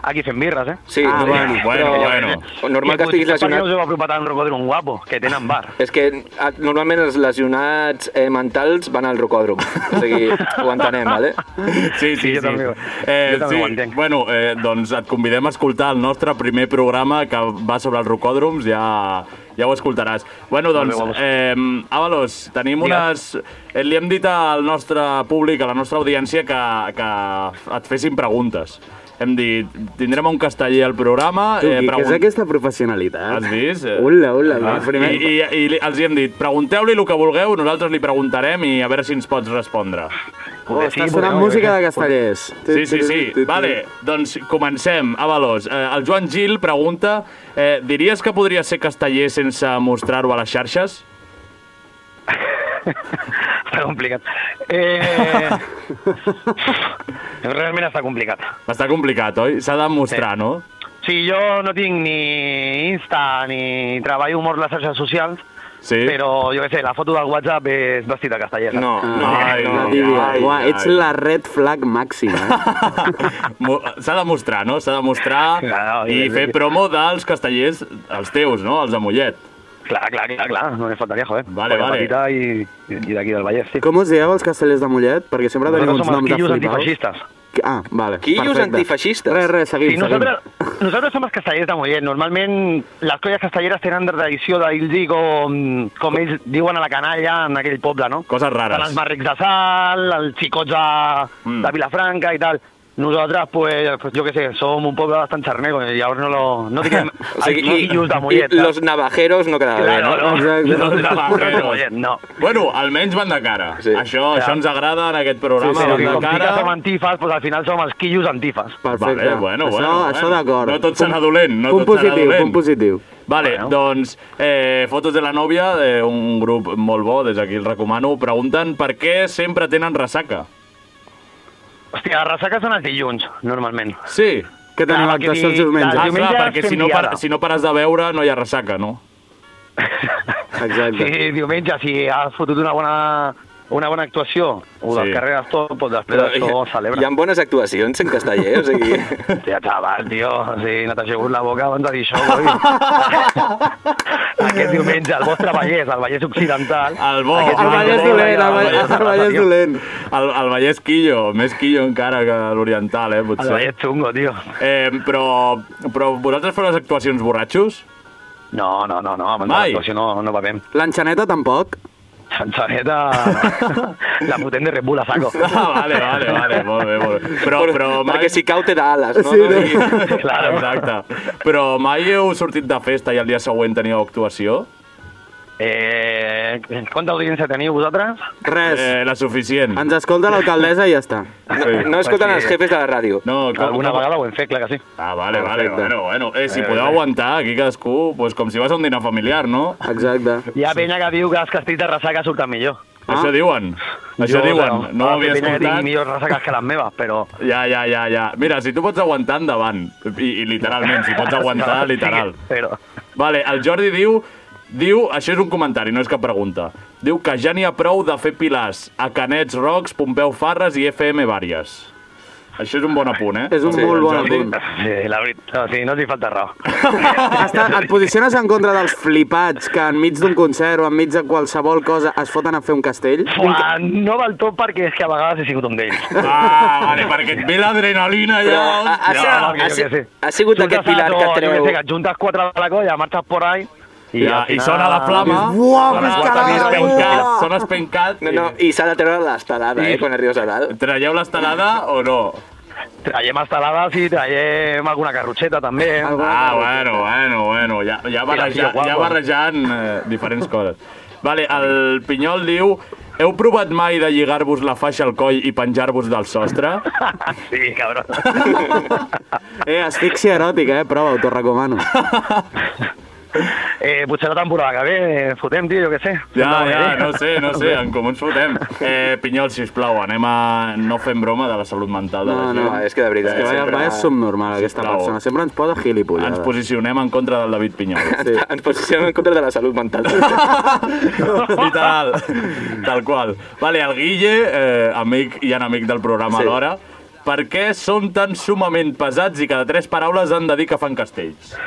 Speaker 8: aquí fent birres, eh?
Speaker 7: Sí,
Speaker 10: Ah, bueno,
Speaker 3: bueno, bueno.
Speaker 7: Normal que estiguis
Speaker 8: Jo
Speaker 7: lesionat.
Speaker 8: us heu apropat a un rocòdrom guapo, que tenen bar.
Speaker 7: És que ah, normalment els lesionats eh, mentals van al rocòdrom. O sigui, ho entenem, vale?
Speaker 3: Sí, sí,
Speaker 8: Sí,
Speaker 3: sí.
Speaker 8: jo també ho-
Speaker 3: eh,
Speaker 8: jo també
Speaker 3: sí.
Speaker 8: ho entenc.
Speaker 3: Bueno, eh, doncs et convidem a escoltar el nostre primer programa que va sobre els rocòdroms, ja, ja ho escoltaràs. Bueno, doncs,
Speaker 8: guapos.
Speaker 3: eh, Avalos, tenim unes...
Speaker 8: Digues.
Speaker 3: Eh, li hem dit al nostre públic, a la nostra audiència, que, que et fessin preguntes. Hem dit, tindrem un casteller al programa...
Speaker 10: Tu, eh,
Speaker 3: pregun-
Speaker 10: que és aquesta professionalitat?
Speaker 3: Has vist?
Speaker 10: Ula, ula,
Speaker 3: Ah,
Speaker 10: ah, primer...
Speaker 3: I, i, I li- els hi hem dit, pregunteu-li el que vulgueu, nosaltres li preguntarem i a veure si ens pots respondre.
Speaker 10: Oh,
Speaker 8: Sí,
Speaker 10: està
Speaker 8: podeu,
Speaker 10: sonant
Speaker 8: jo
Speaker 10: música
Speaker 8: crec.
Speaker 10: de castellers.
Speaker 3: Sí, sí, sí. Vale, doncs comencem. Avalos, eh, el Joan Gil pregunta eh, diries que podria ser casteller sense mostrar-ho a les xarxes?
Speaker 8: Està complicat. Eh... Realment està complicat.
Speaker 3: Està complicat, oi? S'ha de mostrar, sí. no?
Speaker 8: Sí, jo no tinc ni Insta ni treballo molt les xarxes socials,
Speaker 3: Sí.
Speaker 8: però jo què sé, la foto del WhatsApp és vestit de casteller. saps?
Speaker 7: No, no.
Speaker 10: Ah,
Speaker 3: Ai,
Speaker 10: No,
Speaker 3: no,
Speaker 10: Tibia,
Speaker 3: ai,
Speaker 10: Uà,
Speaker 3: ai.
Speaker 10: ets la red flag màxima. eh?
Speaker 3: Mo- S'ha de mostrar, no? S'ha de mostrar
Speaker 8: Claro,
Speaker 3: i
Speaker 8: i-
Speaker 3: fer promo dels castellers, els teus, no? Els de Mollet.
Speaker 8: Clar, clar, clar, clar, no me faltaria, joder.
Speaker 3: Vale,
Speaker 8: Perquè
Speaker 3: vale.
Speaker 8: Petita i, i d'aquí del Vallès, sí.
Speaker 10: Com us dieu els castellers de Mollet? Perquè sempre teniu
Speaker 8: Nosaltres
Speaker 10: uns
Speaker 8: som els
Speaker 10: noms de
Speaker 8: quillos
Speaker 10: flipaus.
Speaker 8: antifeixistes.
Speaker 10: Ah, vale.
Speaker 7: Quillos
Speaker 10: perfecte.
Speaker 7: antifeixistes.
Speaker 10: Res, res, seguim,
Speaker 8: Sí,
Speaker 10: seguim.
Speaker 8: nosaltres, nosaltres som els castellers de Mollet. Normalment les colles castelleres tenen tradició d'ells dir com, com ells diuen a la canalla en aquell poble, no?
Speaker 3: Coses rares.
Speaker 8: Tant els marrics de sal, els xicots de,
Speaker 3: Mm.
Speaker 8: mm. de Vilafranca i tal. Nosaltres, pues, pues, jo què sé, som un poble bastant xarnego i llavors no, lo, no diguem
Speaker 7: O sigui,
Speaker 8: els quillos de Mollet. eh?
Speaker 7: i
Speaker 8: saps?
Speaker 7: los navajeros no quedava bé,
Speaker 8: Claro,
Speaker 7: no?
Speaker 8: no,
Speaker 10: Exacte.
Speaker 8: no,
Speaker 3: Los
Speaker 8: no,
Speaker 3: navajeros.
Speaker 8: de Mollet, no.
Speaker 3: Bueno, almenys van de cara.
Speaker 7: Sí.
Speaker 3: Això, això ens agrada en aquest programa,
Speaker 10: Sí, sí,
Speaker 8: Però
Speaker 3: van
Speaker 8: que
Speaker 3: de
Speaker 8: com
Speaker 3: cara...
Speaker 8: piques som antifes, pues, al final som els quillos antifes.
Speaker 10: Perfecte.
Speaker 3: Vale, bueno,
Speaker 10: això,
Speaker 3: bueno,
Speaker 10: Això
Speaker 3: bueno.
Speaker 10: d'acord.
Speaker 3: No tot
Speaker 10: Punt-
Speaker 3: serà dolent, no
Speaker 10: punt
Speaker 3: tot serà
Speaker 10: positiu,
Speaker 3: dolent.
Speaker 10: Punt positiu,
Speaker 3: Vale,
Speaker 8: Bueno.
Speaker 3: doncs, eh, Fotos de la nòvia, eh, un grup molt bo, des d'aquí el recomano, pregunten per què sempre tenen ressaca.
Speaker 8: Hòstia, les ressaques són els dilluns, normalment.
Speaker 3: Sí.
Speaker 10: Que tenim
Speaker 8: Clar, perquè
Speaker 10: actuació els
Speaker 8: si-
Speaker 10: diumenges.
Speaker 3: Ah,
Speaker 8: diumenge
Speaker 3: clar, perquè
Speaker 8: fem
Speaker 3: si no,
Speaker 8: diada.
Speaker 3: par si no pares de veure no hi ha ressaca, no?
Speaker 10: Exacte.
Speaker 8: Sí, diumenge, si has fotut una bona, una bona actuació o
Speaker 3: Sí.
Speaker 8: sí. descarregues tot, doncs després
Speaker 7: Però
Speaker 8: això ho celebra.
Speaker 7: hi ha bones actuacions en casteller, o sigui...
Speaker 8: Hòstia, xaval, tio, sí, no t'ha llegut la boca abans de dir això, coi. Aquest diumenge, al vostre Vallès, al Vallès Occidental...
Speaker 3: El bo,
Speaker 8: aquest
Speaker 3: el Vallès
Speaker 8: diumenge hi ha-
Speaker 10: dolent, el
Speaker 8: al
Speaker 10: Vallès-
Speaker 8: Vallès
Speaker 10: el Vallès
Speaker 8: tio.
Speaker 10: dolent.
Speaker 3: El, el Vallès Quillo, més Quillo encara que l'Oriental, eh,
Speaker 8: Al
Speaker 3: potser.
Speaker 8: Vallès Xungo, tio.
Speaker 3: Eh, però, però vosaltres feu les actuacions borratxos?
Speaker 8: No, no, no, no, abans de
Speaker 3: Mai.
Speaker 8: l'actuació no, no bevem.
Speaker 10: L'enxaneta tampoc.
Speaker 8: Sanzaneta, la potent de Red Bull a saco.
Speaker 3: Ah, vale, vale, vale, molt bé, molt bé. Però, però mai...
Speaker 7: Perquè si cau té d'ales, no?
Speaker 10: Sí,
Speaker 7: no?
Speaker 10: no.
Speaker 7: Vull dir,
Speaker 8: Claro.
Speaker 3: Exacte. Però mai heu sortit de festa i el dia següent teníeu actuació?
Speaker 9: Eh, quanta audiència teniu vosaltres?
Speaker 8: Res.
Speaker 3: Eh, la suficient.
Speaker 8: Ens escolta l'alcaldessa i ja està.
Speaker 7: No, no escolten els jefes de la ràdio.
Speaker 3: No, com,
Speaker 9: Alguna
Speaker 3: com...
Speaker 9: vegada ho hem fet, clar que sí.
Speaker 3: Ah, vale, vale,
Speaker 7: Perfecte.
Speaker 3: bueno, bueno. Eh, si podeu aguantar, aquí cadascú, pues, com si vas a un dinar familiar, no?
Speaker 8: Ah. Exacte.
Speaker 9: Hi ha penya que diu que els castells de ressaca surten millor.
Speaker 3: Ah. Això diuen. Això diuen.
Speaker 8: Ah,
Speaker 3: No ho havia
Speaker 9: Tinc
Speaker 3: escoltat.
Speaker 9: millors ressaques que les meves, però...
Speaker 3: Ja, ja, ja, ja. Mira, si tu pots aguantar, endavant. I, i literalment, si pots aguantar,
Speaker 9: Sí,
Speaker 3: literal.
Speaker 9: però...
Speaker 3: Vale, el Jordi diu... Diu, això és un comentari, no és cap pregunta. Diu que ja n'hi ha prou de fer pilars a Canets, Rocs, Pompeu Farres i FM Vàries. Això és un bon apunt, eh?
Speaker 8: És un molt bon
Speaker 3: Jordi.
Speaker 8: apunt.
Speaker 9: Sí, la veritat, sí, no t'hi falta raó.
Speaker 8: Està, et posiciones en contra dels flipats que enmig d'un concert o enmig de qualsevol cosa es foten a fer un castell?
Speaker 9: Fuà, no val tot perquè és que a vegades he sigut un d'ells.
Speaker 3: Ah, vale, perquè et ve l'adrenalina ja.
Speaker 7: Però, a- a-
Speaker 3: hòstia.
Speaker 7: a-
Speaker 9: perquè jo
Speaker 7: ha si-
Speaker 9: què sé.
Speaker 7: ha sigut
Speaker 9: Surtes
Speaker 7: aquest pilar
Speaker 9: a-
Speaker 7: que
Speaker 9: no,
Speaker 7: treu-
Speaker 9: jo què sé, et juntes quatre de la colla, marxes por ahí...
Speaker 3: I,
Speaker 9: al
Speaker 3: ja, I
Speaker 9: final-
Speaker 3: sona la flama.
Speaker 8: Uau,
Speaker 3: sona quan
Speaker 8: que estelada,
Speaker 3: has pencat,
Speaker 8: uau.
Speaker 3: sones pencat.
Speaker 7: No, no, i s'ha de treure l'estelada,
Speaker 3: Sí.
Speaker 7: eh,
Speaker 8: er-
Speaker 7: quan arribes a dalt.
Speaker 3: Traieu l'estelada o no?
Speaker 9: Traiem estelades i traiem alguna carrutxeta, també.
Speaker 3: Ah, bueno, bueno, bueno, ja, ja, barreja,
Speaker 9: tio, guapo.
Speaker 3: ja barrejant eh, diferents coses. Vale, el Pinyol diu... Heu provat mai de lligar-vos la faixa al coll i penjar-vos del sostre?
Speaker 9: Sí, cabrón.
Speaker 8: Eh, asfíxia eròtica, eh? Prova, ho t'ho recomano.
Speaker 9: Eh, potser la temporada que ve eh, fotem, tio, jo què sé. eh.
Speaker 3: Ja,
Speaker 8: eh?
Speaker 9: Sembla
Speaker 3: ja,
Speaker 9: que-
Speaker 3: no sé, no sé, en comú ens fotem. Eh, Pinyol, sisplau, anem a... No fem broma de la salut mental de la
Speaker 8: No,
Speaker 3: gent. Eh,
Speaker 8: no,
Speaker 7: No, és que de
Speaker 8: És
Speaker 7: veritat...
Speaker 8: que vaya,
Speaker 7: sempre-
Speaker 8: vaya subnormal aquesta
Speaker 3: Sisplau.
Speaker 8: persona. Sempre ens posa
Speaker 3: Ens
Speaker 8: gilipollada.
Speaker 3: posicionem en contra del David Pinyol.
Speaker 8: Sí.
Speaker 7: Ens posicionem en contra de la salut mental.
Speaker 3: Literal, tal qual. Vale, el Guille, eh, amic i enemic del programa
Speaker 7: Sí.
Speaker 3: sí. alhora, per què són tan sumament pesats i cada tres paraules han de dir que fan castells?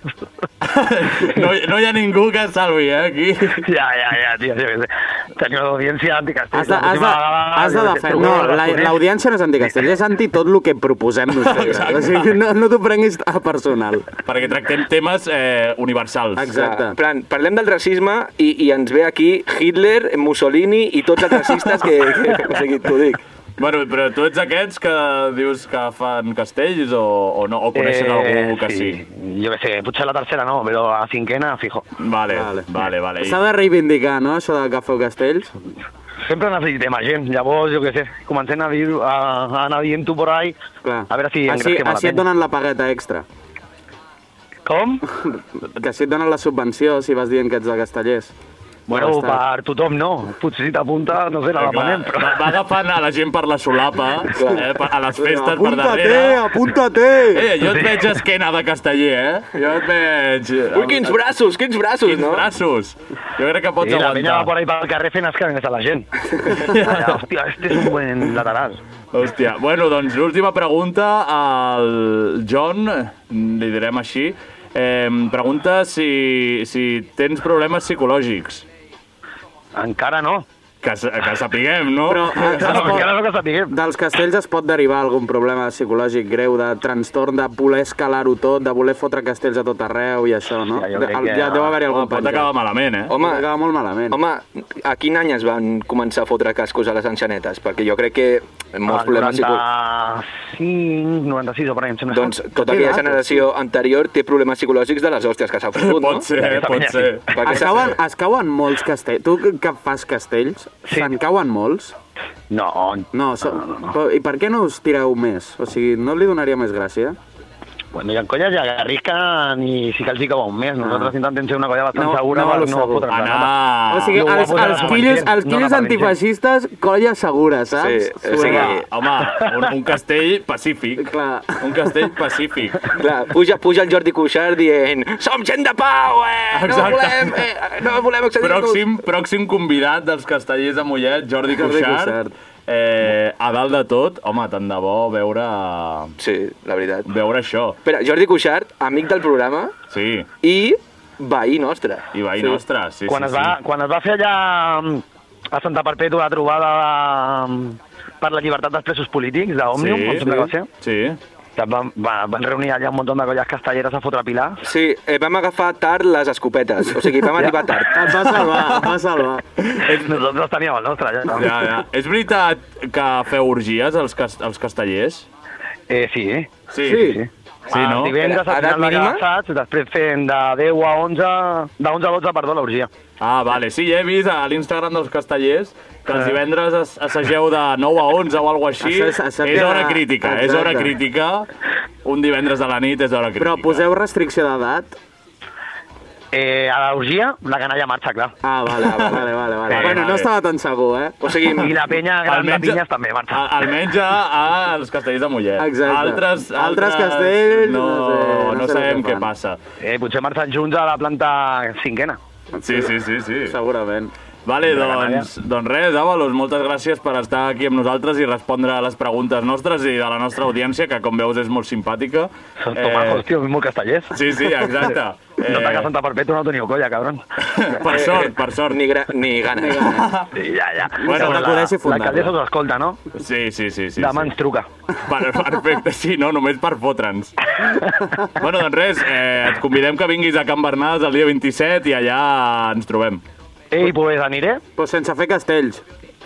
Speaker 3: no, hi- no hi ha ningú que es salvi, eh, aquí.
Speaker 9: Ja, ja, ja, tio, jo què sé. Teniu una audiència anticastella.
Speaker 8: Has de, has de, has de defendre... No, la- l'audiència no és anticastell, és anti tot el que proposem nosaltres. O sigui, no, no t'ho prenguis a personal.
Speaker 3: Perquè tractem temes eh, universals.
Speaker 8: Exacte.
Speaker 7: En Ah, plan, parlem del racisme i, i ens ve aquí Hitler, Mussolini i tots els racistes que... que o sigui, t'ho dic.
Speaker 3: Bueno, però tu ets aquests que dius que fan castells o, o no? O coneixen eh, algú que sí? sí.
Speaker 9: Jo què sé, potser la tercera no, però a cinquena, fijo.
Speaker 3: Vale, vale, vale. vale.
Speaker 8: S'ha de reivindicar, no?, això de que feu castells.
Speaker 9: Sempre necessitem a gent, llavors, jo què sé, comencem a, dir, a, a anar dient tu por ahí,
Speaker 8: Clar.
Speaker 9: a veure si
Speaker 8: així,
Speaker 9: engrasquem a la
Speaker 8: així et
Speaker 9: penya.
Speaker 8: donen la pagueta extra.
Speaker 9: Com?
Speaker 8: Que així et donen la subvenció si vas dient que ets de castellers.
Speaker 9: Bueno,
Speaker 8: Bon estat.
Speaker 9: per tothom no. Potser si t'apunta, no sé, la
Speaker 3: Eh, Clar,
Speaker 9: demanem, però...
Speaker 3: va, va agafant a la gent per la solapa, eh, per- a les festes per
Speaker 8: Apunta-te,
Speaker 3: darrere.
Speaker 8: apunta-te!
Speaker 3: Eh, jo et veig esquena de casteller, eh? Jo et veig... eh,
Speaker 7: Ui, quins braços, quins braços,
Speaker 3: Quins
Speaker 7: no?
Speaker 3: braços! Jo crec que pots
Speaker 9: Sí, la penya va por
Speaker 3: aguantar.
Speaker 9: ahí pel carrer fent escàmenes a la gent. Ja, hòstia, este és un buen lateral.
Speaker 3: Hòstia. Bueno, doncs l'última pregunta al John, li direm així. Eh, pregunta si, si tens problemes psicològics.
Speaker 9: Encara no.
Speaker 3: Que, s- que sapiguem, no?
Speaker 8: Però eh,
Speaker 7: ah,
Speaker 8: es
Speaker 9: Encara no,
Speaker 8: pot,
Speaker 9: encara no que sapiguem.
Speaker 8: dels castells es pot derivar algun problema psicològic greu, de trastorn, de voler escalar-ho tot, de voler fotre castells a tot arreu i això, no?
Speaker 9: Sí, jo
Speaker 8: De-
Speaker 9: crec
Speaker 8: el-
Speaker 9: que-
Speaker 8: ja deu haver-hi
Speaker 3: Home,
Speaker 8: algun
Speaker 3: pot acabar malament, eh?
Speaker 8: Home,
Speaker 7: Home,
Speaker 8: acaba molt malament.
Speaker 7: home, a quin any es van començar a fotre cascos a les enxanetes? Perquè jo crec que molts
Speaker 9: Al
Speaker 7: problemes... psicològics...
Speaker 9: 95, 96 o per ahí, em sembla.
Speaker 7: Doncs tota aquella generació anterior té problemes psicològics de les hòsties que s'ha fotut, no?
Speaker 3: Pot ser, eh? pot ser.
Speaker 7: Perquè
Speaker 8: Es
Speaker 7: s'ha-
Speaker 8: cauen, es cauen molts castells. Tu que- que fas castells,
Speaker 9: Sí.
Speaker 8: se'n cauen molts?
Speaker 9: No,
Speaker 8: No, so, però- i per què no us tireu més? O sigui, no li donaria més gràcia?
Speaker 9: bueno, hi ha colles ja que arrisquen i sí que els hi cau un mes. Nosaltres intentem ser una colla bastant
Speaker 8: Ah. No,
Speaker 9: segura
Speaker 8: no
Speaker 9: per
Speaker 8: val-ho
Speaker 9: no
Speaker 8: segur.
Speaker 9: fotre'ns la nota.
Speaker 3: Anar...
Speaker 8: o sigui,
Speaker 9: no ho
Speaker 8: els,
Speaker 9: va posar
Speaker 8: els
Speaker 9: la
Speaker 8: quillos,
Speaker 9: Marilyn,
Speaker 8: els
Speaker 9: no la
Speaker 8: quillos
Speaker 9: Marilyn.
Speaker 8: antifeixistes, colla segura, saps?
Speaker 7: Sí, o sigui,
Speaker 8: Suena.
Speaker 3: Home, un, un castell pacífic.
Speaker 8: Clar.
Speaker 3: Un castell pacífic.
Speaker 7: Clar, puja, puja el Jordi Cuixart dient Som gent de pau, eh! No
Speaker 3: Exacte.
Speaker 7: volem, eh, no volem accedir-nos...
Speaker 3: Pròxim, pròxim convidat dels castellers de Mollet, Jordi
Speaker 8: Jordi
Speaker 3: Cuixart.
Speaker 8: Cuixart.
Speaker 3: Eh, a dalt de tot, home, tant de bo veure,
Speaker 7: Sí, la veritat.
Speaker 3: veure això.
Speaker 7: Espera, Jordi Cuixart, amic del programa
Speaker 3: Sí,
Speaker 7: i veí nostre.
Speaker 3: i veí sí. nostre. Sí,
Speaker 9: Quan,
Speaker 3: sí,
Speaker 9: es va,
Speaker 3: Sí.
Speaker 9: quan es va fer allà mm, a Santa Perpètua la trobada mm, per la llibertat dels presos polítics d'Òmnium, em sembla que va ser,
Speaker 3: sí.
Speaker 9: que van, va- van reunir allà un munt de colles castelleres a fotre pilar.
Speaker 7: Sí, eh, vam agafar tard les escopetes, o sigui, vam arribar tard.
Speaker 8: Et va salvar, et va salvar.
Speaker 9: Nosaltres teníem el nostre allà.
Speaker 3: Eh, Ja, ja. És veritat que feu orgies, els, cas els castellers?
Speaker 9: Eh, sí, eh?
Speaker 3: Sí.
Speaker 8: Sí.
Speaker 11: Sí, no?
Speaker 12: Els divendres a
Speaker 7: Edat
Speaker 12: final de
Speaker 7: mínima?
Speaker 12: graçats, després fem de 10 a 11, de 11 a 12, perdó, la orgia.
Speaker 3: Ah, vale. Sí, ja he vist a l'Instagram dels castellers que els divendres as- assageu de 9 a 11 o alguna cosa així.
Speaker 13: Ah. Això és- això
Speaker 3: és
Speaker 13: queda-
Speaker 3: hora crítica, és hora
Speaker 13: Exacte.
Speaker 3: crítica. Un divendres a la nit és hora crítica.
Speaker 13: Però poseu restricció d'edat?
Speaker 12: Eh, a l'orgia, la canalla marxa, clar.
Speaker 13: Ah, vale, vale, vale. vale. vale.
Speaker 3: Sí,
Speaker 13: bueno,
Speaker 3: vale.
Speaker 13: no estava tan segur, eh? O sigui,
Speaker 12: I la penya gran
Speaker 3: Almenys-
Speaker 12: de pinyes també marxa.
Speaker 3: A- Almenys a, a els castells de Mollet.
Speaker 13: Exacte.
Speaker 3: Altres,
Speaker 13: Altres castells,
Speaker 3: no,
Speaker 13: no sé, no
Speaker 3: no
Speaker 13: sé
Speaker 3: sabem
Speaker 13: què
Speaker 3: què
Speaker 13: fan.
Speaker 3: passa.
Speaker 12: Eh, potser marxen junts a la planta cinquena.
Speaker 3: Sí, sí, sí. sí.
Speaker 13: segurament.
Speaker 7: Eh,
Speaker 3: Vale, doncs, doncs res, Avalos, moltes gràcies per estar aquí amb nosaltres i respondre a les preguntes nostres i de la nostra audiència, que com veus és molt simpàtica.
Speaker 12: Són tomajos, tio, molt castellers.
Speaker 3: Eh. sí, sí, exacte.
Speaker 12: No eh... que Santa Perpètua no teniu colla, cabron.
Speaker 3: per
Speaker 12: Eh,
Speaker 3: sort, per sort.
Speaker 7: eh, Ni, gra... ni ganes.
Speaker 12: Sí, ja, ja.
Speaker 3: Bueno,
Speaker 12: Segons
Speaker 13: t'acudeixi
Speaker 12: la,
Speaker 13: fundar-la.
Speaker 12: l'alcaldessa us escolta, no?
Speaker 3: Sí, sí, sí. sí
Speaker 12: Demà
Speaker 3: sí.
Speaker 12: ens truca.
Speaker 3: Per, perfecte, sí, no, només per fotre'ns. bueno, doncs res, eh, et convidem que vinguis a Can Bernades el dia 27 i allà ens trobem.
Speaker 12: Ei, pues aniré.
Speaker 13: Però sense fer castells.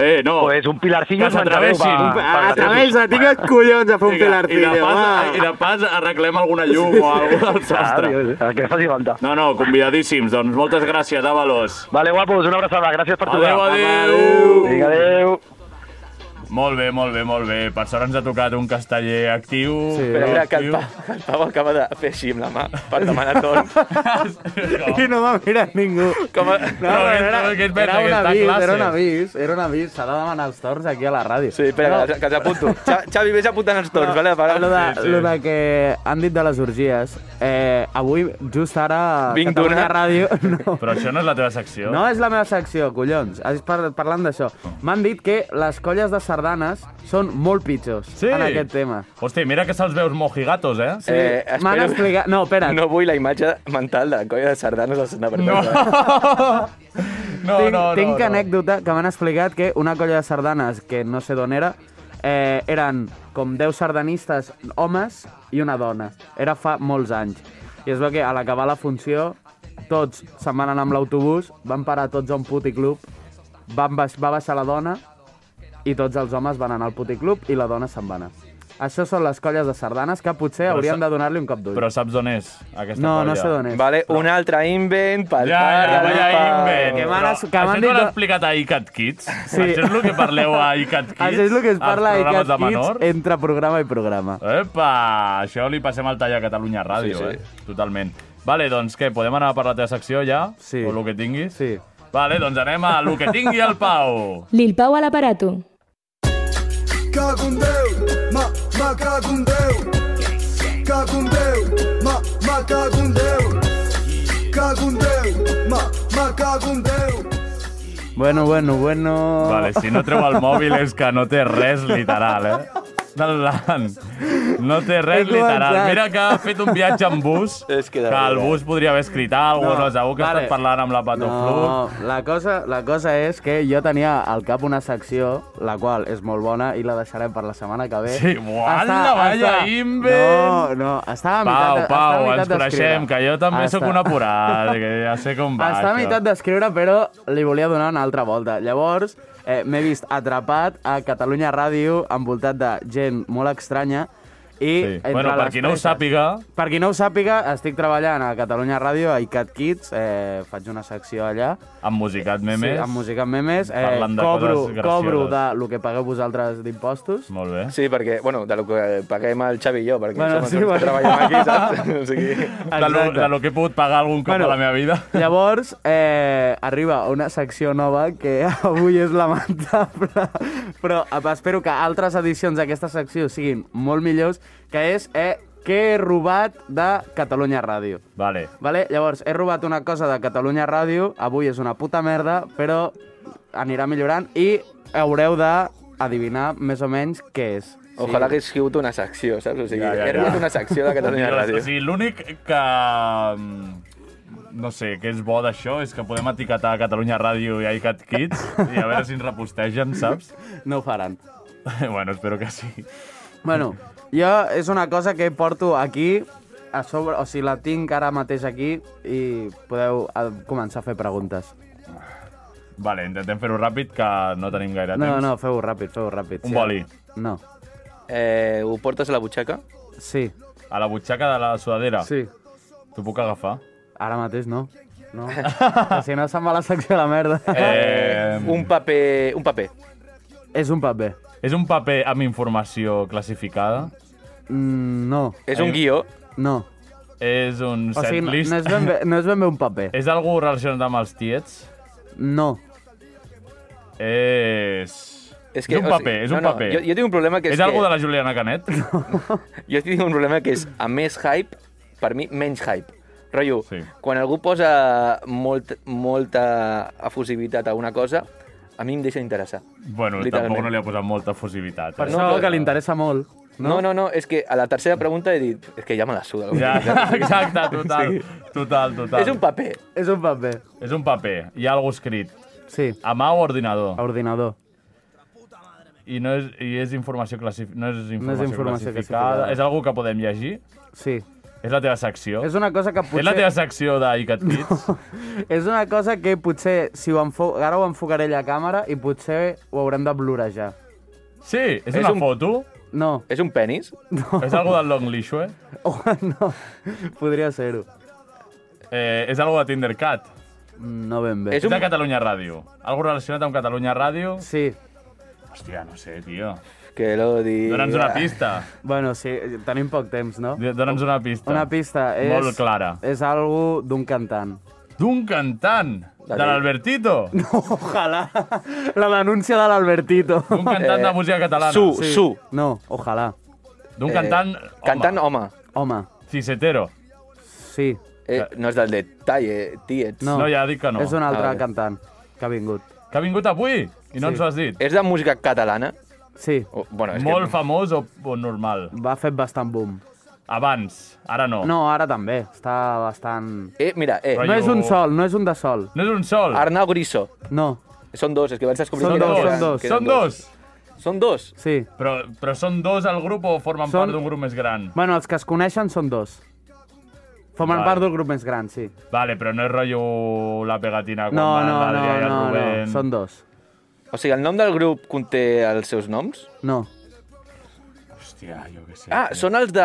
Speaker 3: Eh, no,
Speaker 12: Pues un pilarcillo
Speaker 3: Que s'atreveixin.
Speaker 13: Ah, a través de tingues collons a fer un
Speaker 3: I, de, i,
Speaker 13: pilarcillo,
Speaker 3: de pas, I
Speaker 13: va.
Speaker 3: de pas arreglem alguna llum o alguna al sostre.
Speaker 12: Ah, El que faci falta.
Speaker 3: No, no, convidadíssims. Doncs moltes gràcies, Avalos.
Speaker 12: Vale, guapos, una abraçada. Gràcies per trucar.
Speaker 3: Adéu, adéu.
Speaker 12: Vinga, adéu.
Speaker 3: Molt bé, molt bé, molt bé. Per sort ens ha tocat un casteller actiu. Sí.
Speaker 7: Però mira, que el, Pau, que el Pau acaba de fer així amb la mà per demanar torn.
Speaker 8: I no m'ha mirat ningú.
Speaker 7: Com a...
Speaker 8: No,
Speaker 3: No,
Speaker 8: però
Speaker 3: aquest-
Speaker 8: era,
Speaker 3: aquest
Speaker 8: era,
Speaker 3: pensa que
Speaker 8: un
Speaker 3: està a
Speaker 8: avís,
Speaker 3: classe.
Speaker 8: era un avís, era un avís. S'ha de demanar els torns aquí a la ràdio.
Speaker 7: Sí, espera,
Speaker 8: No,
Speaker 7: que, els- que els apunto. Xa- Xavi, vés apuntant els torns, vale? Para...
Speaker 8: Lo de, lo de que han dit de les orgies, eh, avui, just ara, a
Speaker 7: Vinc
Speaker 8: Catalunya
Speaker 7: d'una.
Speaker 8: Ràdio... No.
Speaker 3: Però això no és la teva secció.
Speaker 8: No és la meva secció, collons. Has par parlant d'això.
Speaker 3: Oh.
Speaker 8: M'han dit que les colles de sardanes són molt pitjors
Speaker 3: Sí.
Speaker 8: en aquest tema.
Speaker 3: Hòstia, mira que se'ls veus mojigatos, eh?
Speaker 8: Sí, M'han explicat... No, espera.
Speaker 7: No vull la imatge mental de la colla de sardanes al Santa
Speaker 3: No.
Speaker 7: Perpètua.
Speaker 3: No, no,
Speaker 8: tinc,
Speaker 3: no.
Speaker 8: tinc
Speaker 3: no.
Speaker 8: anècdota que m'han explicat que una colla de sardanes, que no sé d'on era, eh, eren com 10 sardanistes homes i una dona. Era fa molts anys. I es veu que a l'acabar la funció tots se'n van anar amb l'autobús, van parar tots a un puticlub, van baix, va baixar la dona i tots els homes van anar al puticlub i la dona se'n va anar. Això són les colles de sardanes que potser
Speaker 3: Però
Speaker 8: hauríem
Speaker 3: sa-
Speaker 8: de donar-li un cop d'ull.
Speaker 3: Però saps on és, aquesta
Speaker 8: No,
Speaker 3: colla?
Speaker 8: no sé d'on és.
Speaker 7: Vale, un altre invent pel
Speaker 3: Ja, ja,
Speaker 7: Pau,
Speaker 3: vaya
Speaker 7: pel Pau.
Speaker 3: invent.
Speaker 8: Que m'han
Speaker 3: Però
Speaker 8: es- que m'han
Speaker 3: això no
Speaker 8: dit-
Speaker 3: l'ha explicat a ICAT Kids? Sí. Això és el que parleu a ICAT Kids?
Speaker 8: Això és el que es
Speaker 3: als
Speaker 8: parla de
Speaker 3: programes
Speaker 8: Cat
Speaker 3: de
Speaker 8: Kids
Speaker 3: menors?
Speaker 8: entre programa i programa.
Speaker 3: Epa! Això li passem al tall a Catalunya Ràdio,
Speaker 7: Sí, sí.
Speaker 3: eh? Totalment. Vale, doncs què, podem anar per la teva secció ja?
Speaker 8: Sí.
Speaker 3: O el que tinguis?
Speaker 8: Sí.
Speaker 3: Vale, doncs anem a lo que tingui el Pau.
Speaker 1: Lil Pau a l'aparato.
Speaker 14: Cago en Déu, ma, ma cago en Déu. Cago en Déu, ma, ma cago en Déu. Cago en Déu, ma, ma cago en Déu.
Speaker 8: Bueno, bueno, bueno...
Speaker 3: Vale, si no treu el mòbil és que no té res literal, eh? Delant. No té res
Speaker 8: He
Speaker 3: literal.
Speaker 8: començat.
Speaker 3: Mira que ha fet un viatge en bus,
Speaker 7: És que de
Speaker 3: el
Speaker 7: veritat.
Speaker 3: bus podria haver escrit alguna
Speaker 8: No,
Speaker 3: cosa, segur que
Speaker 8: vale.
Speaker 3: estàs parlant amb la Patoflu.
Speaker 8: No, la cosa, la cosa és que jo tenia al cap una secció, la qual és molt bona i la deixarem per la setmana que ve.
Speaker 3: Sí, uala, vaya invent!
Speaker 8: No, no, estava a
Speaker 3: Pau,
Speaker 8: meitat, estava
Speaker 3: Pau,
Speaker 8: a
Speaker 3: ens
Speaker 8: meitat
Speaker 3: coneixem,
Speaker 8: d'escriure.
Speaker 3: que jo també sóc
Speaker 8: Està-
Speaker 3: un apurat, que ja sé com va
Speaker 8: Està a
Speaker 3: això.
Speaker 8: meitat d'escriure, però li volia donar una altra volta. Llavors, eh, m'he vist atrapat a Catalunya Ràdio, envoltat de gent molt estranya, i
Speaker 3: Sí.
Speaker 8: entre
Speaker 3: Bueno, per
Speaker 8: les
Speaker 3: qui no ho
Speaker 8: presses-
Speaker 3: sàpiga-
Speaker 8: Per qui no ho sàpiga, estic treballant a Catalunya Ràdio, a iCat Kids, eh, faig una secció allà,
Speaker 3: Amb musicat memes.
Speaker 8: Sí, amb música amb memes. Eh,
Speaker 3: Parlant de
Speaker 8: cobro,
Speaker 3: coses gracioses.
Speaker 8: cobro de lo que pagueu vosaltres d'impostos.
Speaker 3: Molt bé.
Speaker 7: Sí, perquè, bueno, de lo que paguem el Xavi i jo, perquè
Speaker 8: Bueno,
Speaker 7: bueno, som els
Speaker 8: sí,
Speaker 7: únics que
Speaker 8: bueno.
Speaker 7: treballem aquí, saps? O sigui...
Speaker 3: De lo, de lo que he pogut pagar algun cop
Speaker 8: Bueno.
Speaker 3: a la meva vida.
Speaker 8: Llavors, eh, arriba una secció nova que avui és lamentable, però espero que altres edicions d'aquesta secció siguin molt millors, que és eh, què he robat de Catalunya Ràdio.
Speaker 3: Vale.
Speaker 8: Vale? Llavors, he robat una cosa de Catalunya Ràdio, avui és una puta merda, però anirà millorant i haureu de adivinar més o menys què és.
Speaker 7: Ojalà hagués sigut una secció, saps? O sigui,
Speaker 3: Ja, ja, ja.
Speaker 7: he arribat una secció de Catalunya
Speaker 3: Millor,
Speaker 7: Ràdio.
Speaker 3: O sigui, l'únic que... mm, No sé, que és bo d'això és que podem etiquetar Catalunya Ràdio i iCat Kids i a veure si ens repostegen, saps?
Speaker 8: No ho faran.
Speaker 3: bueno, espero que sí.
Speaker 8: Bueno, jo és una cosa que porto aquí a sobre, o sigui, la tinc ara mateix aquí i podeu eh, començar a fer preguntes.
Speaker 3: Vale, intentem fer-ho ràpid, que no tenim gaire
Speaker 8: No,
Speaker 3: temps.
Speaker 8: no, feu-ho ràpid, feu-ho ràpid.
Speaker 3: Un boli.
Speaker 8: No,
Speaker 7: Eh, ho portes a la butxaca?
Speaker 8: sí.
Speaker 3: A la butxaca de la sudadera?
Speaker 8: Sí.
Speaker 3: T'ho puc agafar?
Speaker 8: Ara mateix no. No. Que si no se'n va la secció a la merda.
Speaker 3: Eh,
Speaker 7: Un paper... Un paper.
Speaker 8: És un paper.
Speaker 3: És un paper amb informació classificada?
Speaker 8: Mm, no.
Speaker 3: És un guió?
Speaker 8: No.
Speaker 3: És un
Speaker 8: O sigui, no,
Speaker 3: setlist?
Speaker 8: no, és ben bé, no és ben bé un paper.
Speaker 3: És algú relacionat amb els tiets?
Speaker 8: No.
Speaker 3: És... És,
Speaker 7: que,
Speaker 3: un
Speaker 7: o
Speaker 3: paper,
Speaker 7: sigui,
Speaker 3: és un
Speaker 7: no, no,
Speaker 3: paper.
Speaker 7: jo- jo tinc un problema que és
Speaker 3: És algú
Speaker 7: que-
Speaker 3: de la Juliana Canet?
Speaker 7: Jo tinc un problema que és, a més hype, per mi, menys hype. Rotllo, sí. quan algú posa molt, molta efusivitat a una cosa, a mi em deixa interessar.
Speaker 3: Bueno, tampoc no li ha posat molta efusivitat. eh?
Speaker 8: Per això que li interessa molt.
Speaker 7: No? no, no, no, és que a la tercera pregunta he dit, és que ja me la suda. el que
Speaker 3: Ja,
Speaker 7: dic".
Speaker 3: exacte, total,
Speaker 7: Sí.
Speaker 3: total, total.
Speaker 7: És un paper.
Speaker 8: És un paper.
Speaker 3: És un paper. Hi ha algú escrit.
Speaker 8: Sí.
Speaker 3: A mà o ordinador?
Speaker 8: A ordinador.
Speaker 3: I no és, i és informació, classif no és informació,
Speaker 8: informació
Speaker 3: classificada.
Speaker 8: classificada.
Speaker 3: És algú que podem llegir?
Speaker 8: Sí.
Speaker 3: És la teva secció?
Speaker 8: És una cosa que
Speaker 3: Oh. És la
Speaker 8: potser-
Speaker 3: teva secció d'ICAT Kids?
Speaker 8: És una cosa que potser, si ho enfo... ara ho enfocaré allà a càmera i potser ho haurem de blurejar.
Speaker 3: Sí, és, una
Speaker 8: un-
Speaker 3: foto?
Speaker 8: No.
Speaker 7: És un penis?
Speaker 8: No.
Speaker 3: És algú del Long eh? Lishue?
Speaker 8: Podria ser-ho.
Speaker 3: Eh, és algú de Tindercat?
Speaker 8: No ben bé.
Speaker 3: És, un... de Catalunya Ràdio. Algú relacionat amb Catalunya Ràdio?
Speaker 8: Sí.
Speaker 3: Hòstia, no sé, tio.
Speaker 7: Que l'odi...
Speaker 3: Dóna'ns una pista.
Speaker 8: Bueno, sí, tenim poc temps, no?
Speaker 3: Dóna'ns una pista.
Speaker 8: Una pista. És,
Speaker 3: Molt clara.
Speaker 8: És algo d'un cantant.
Speaker 3: D'un cantant? De l'Albertito?
Speaker 8: No, ojalà. La denúncia de l'Albertito.
Speaker 3: Un cantant de música catalana.
Speaker 8: eh, Su, Eh, su. No, ojalà.
Speaker 3: D'un cantant...
Speaker 7: Cantant home.
Speaker 8: Home.
Speaker 3: Cisetero.
Speaker 8: Sí.
Speaker 7: Eh, no és del de Talle, Tiets.
Speaker 3: No, No, ja dic que no.
Speaker 8: És un altre
Speaker 7: Ah, vale.
Speaker 8: cantant que ha vingut.
Speaker 3: Que ha vingut avui i no
Speaker 8: Sí. Eh,
Speaker 3: ens ho has dit.
Speaker 7: És de música catalana?
Speaker 8: Sí.
Speaker 7: O, bueno, és
Speaker 3: Molt
Speaker 7: que...
Speaker 3: famós o, o normal?
Speaker 8: Va fer bastant boom.
Speaker 3: Abans, ara no.
Speaker 8: No, ara també. Està bastant...
Speaker 7: Eh, mira, eh.
Speaker 8: No és un
Speaker 3: oh.
Speaker 8: sol, no és un de sol.
Speaker 3: No és un sol.
Speaker 7: Arnau Griso.
Speaker 8: No.
Speaker 7: Són dos, és que vaig descobrir
Speaker 8: Són
Speaker 7: que
Speaker 8: dos,
Speaker 7: eren-
Speaker 8: són dos.
Speaker 7: que eren
Speaker 3: Són dos.
Speaker 7: Són dos?
Speaker 8: Sí.
Speaker 3: Però, però són dos al grup o formen
Speaker 8: Són-
Speaker 3: part d'un grup més gran?
Speaker 8: Bueno, els que es coneixen són dos. Formen
Speaker 3: Vale.
Speaker 8: part del grup més gran, sí.
Speaker 3: Vale, però no és rotllo la pegatina quan
Speaker 8: No,
Speaker 3: van
Speaker 8: no, no,
Speaker 3: l'Adrià i el
Speaker 8: no, no,
Speaker 3: Rubén.
Speaker 8: són dos.
Speaker 7: O sigui, el nom del grup conté els seus noms?
Speaker 8: No.
Speaker 3: Hòstia, jo què sé.
Speaker 7: Ah, són els de,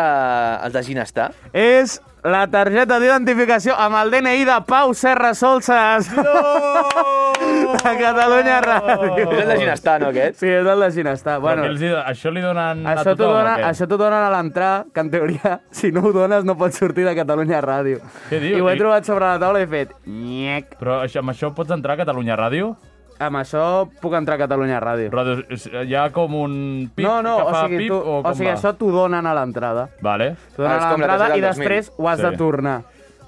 Speaker 7: els de Ginestar?
Speaker 8: És la targeta d'identificació amb el DNI de Pau Serra Solses. No! De Catalunya
Speaker 3: Oh.
Speaker 8: Ràdio.
Speaker 7: És el de Ginestar, no, aquest?
Speaker 8: Sí, és el de Ginestar.
Speaker 3: Bueno,
Speaker 8: Bueno,
Speaker 3: els, hi- això li donen a
Speaker 8: això t'ho
Speaker 3: tothom,
Speaker 8: dona,
Speaker 3: o què?
Speaker 8: això t'ho donen a l'entrar, que en teoria, si no ho dones, no pots sortir de Catalunya Ràdio.
Speaker 3: Què diu?
Speaker 8: I ho he
Speaker 3: I-
Speaker 8: trobat sobre la taula i he fet... Nyec.
Speaker 3: Però això, amb això pots entrar a Catalunya Ràdio?
Speaker 8: Amb això puc entrar a Catalunya Ràdio.
Speaker 3: Ràdio és- hi ha com un pip
Speaker 8: no, no,
Speaker 3: que
Speaker 8: o
Speaker 3: fa
Speaker 8: sigui,
Speaker 3: pip
Speaker 8: tu,
Speaker 3: o com
Speaker 8: o sigui
Speaker 3: va?
Speaker 8: això t'ho donen a l'entrada.
Speaker 3: Vale.
Speaker 8: T'ho
Speaker 7: Ah,
Speaker 8: donen a l'entrada i després ho has de tornar.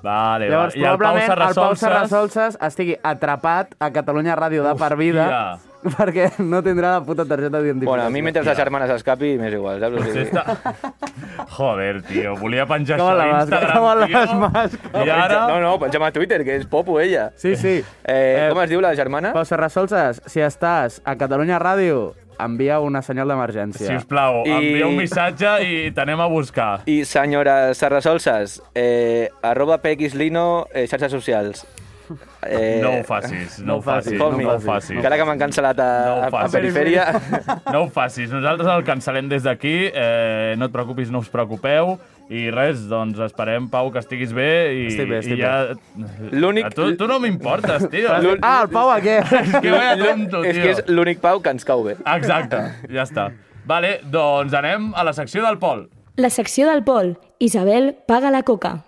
Speaker 3: Vale,
Speaker 8: Llavors,
Speaker 3: vale. I el Pau
Speaker 8: probablement el Pau
Speaker 3: Serrasolses...
Speaker 8: Serrasolses estigui atrapat a Catalunya Ràdio de per vida perquè no tindrà la puta targeta d'identificació.
Speaker 7: Bueno, a mi mentre les germanes escapi, m'és igual, saps? O sigui,
Speaker 3: Joder, tio, volia penjar
Speaker 7: Com a
Speaker 3: això
Speaker 7: la
Speaker 3: a
Speaker 7: masca, com a la
Speaker 3: Instagram, tio. I ara...
Speaker 7: No, no, pengem a Twitter, que és popo, ella.
Speaker 8: Sí, sí.
Speaker 7: Eh, com es diu la germana?
Speaker 8: Pau Serrasolses, si estàs a Catalunya Ràdio, envia una senyal d'emergència.
Speaker 3: Si us plau,
Speaker 7: I-
Speaker 3: I... envia un missatge i t'anem a buscar.
Speaker 7: I senyora Serrasolses, eh, arroba pxlino, eh, xarxes socials.
Speaker 3: No ho facis, no,
Speaker 7: No
Speaker 3: ho
Speaker 7: ho
Speaker 3: facis,
Speaker 7: facis, no ho
Speaker 3: no ho
Speaker 7: facis.
Speaker 3: facis.
Speaker 7: Encara Eh, que m'han cancel·lat a,
Speaker 3: ho
Speaker 7: a- a
Speaker 3: facis.
Speaker 7: perifèria.
Speaker 3: No ho facis, nosaltres el cancel·lem des d'aquí, eh, no et preocupis, no us preocupeu, i res, doncs esperem, Pau, que estiguis bé i,
Speaker 7: Estic bé,
Speaker 3: i
Speaker 7: estic
Speaker 3: ja...
Speaker 7: L'únic-
Speaker 3: A tu, tu no m'importes, tio.
Speaker 7: L'únic-
Speaker 8: Ah, el Pau a què?
Speaker 3: És que vaya tonto,
Speaker 7: És que
Speaker 3: tio.
Speaker 7: és l'únic Pau que ens cau bé.
Speaker 3: Exacte, ja està. Vale, doncs anem a la secció del Pol.
Speaker 1: La secció del Pol. Isabel paga la coca.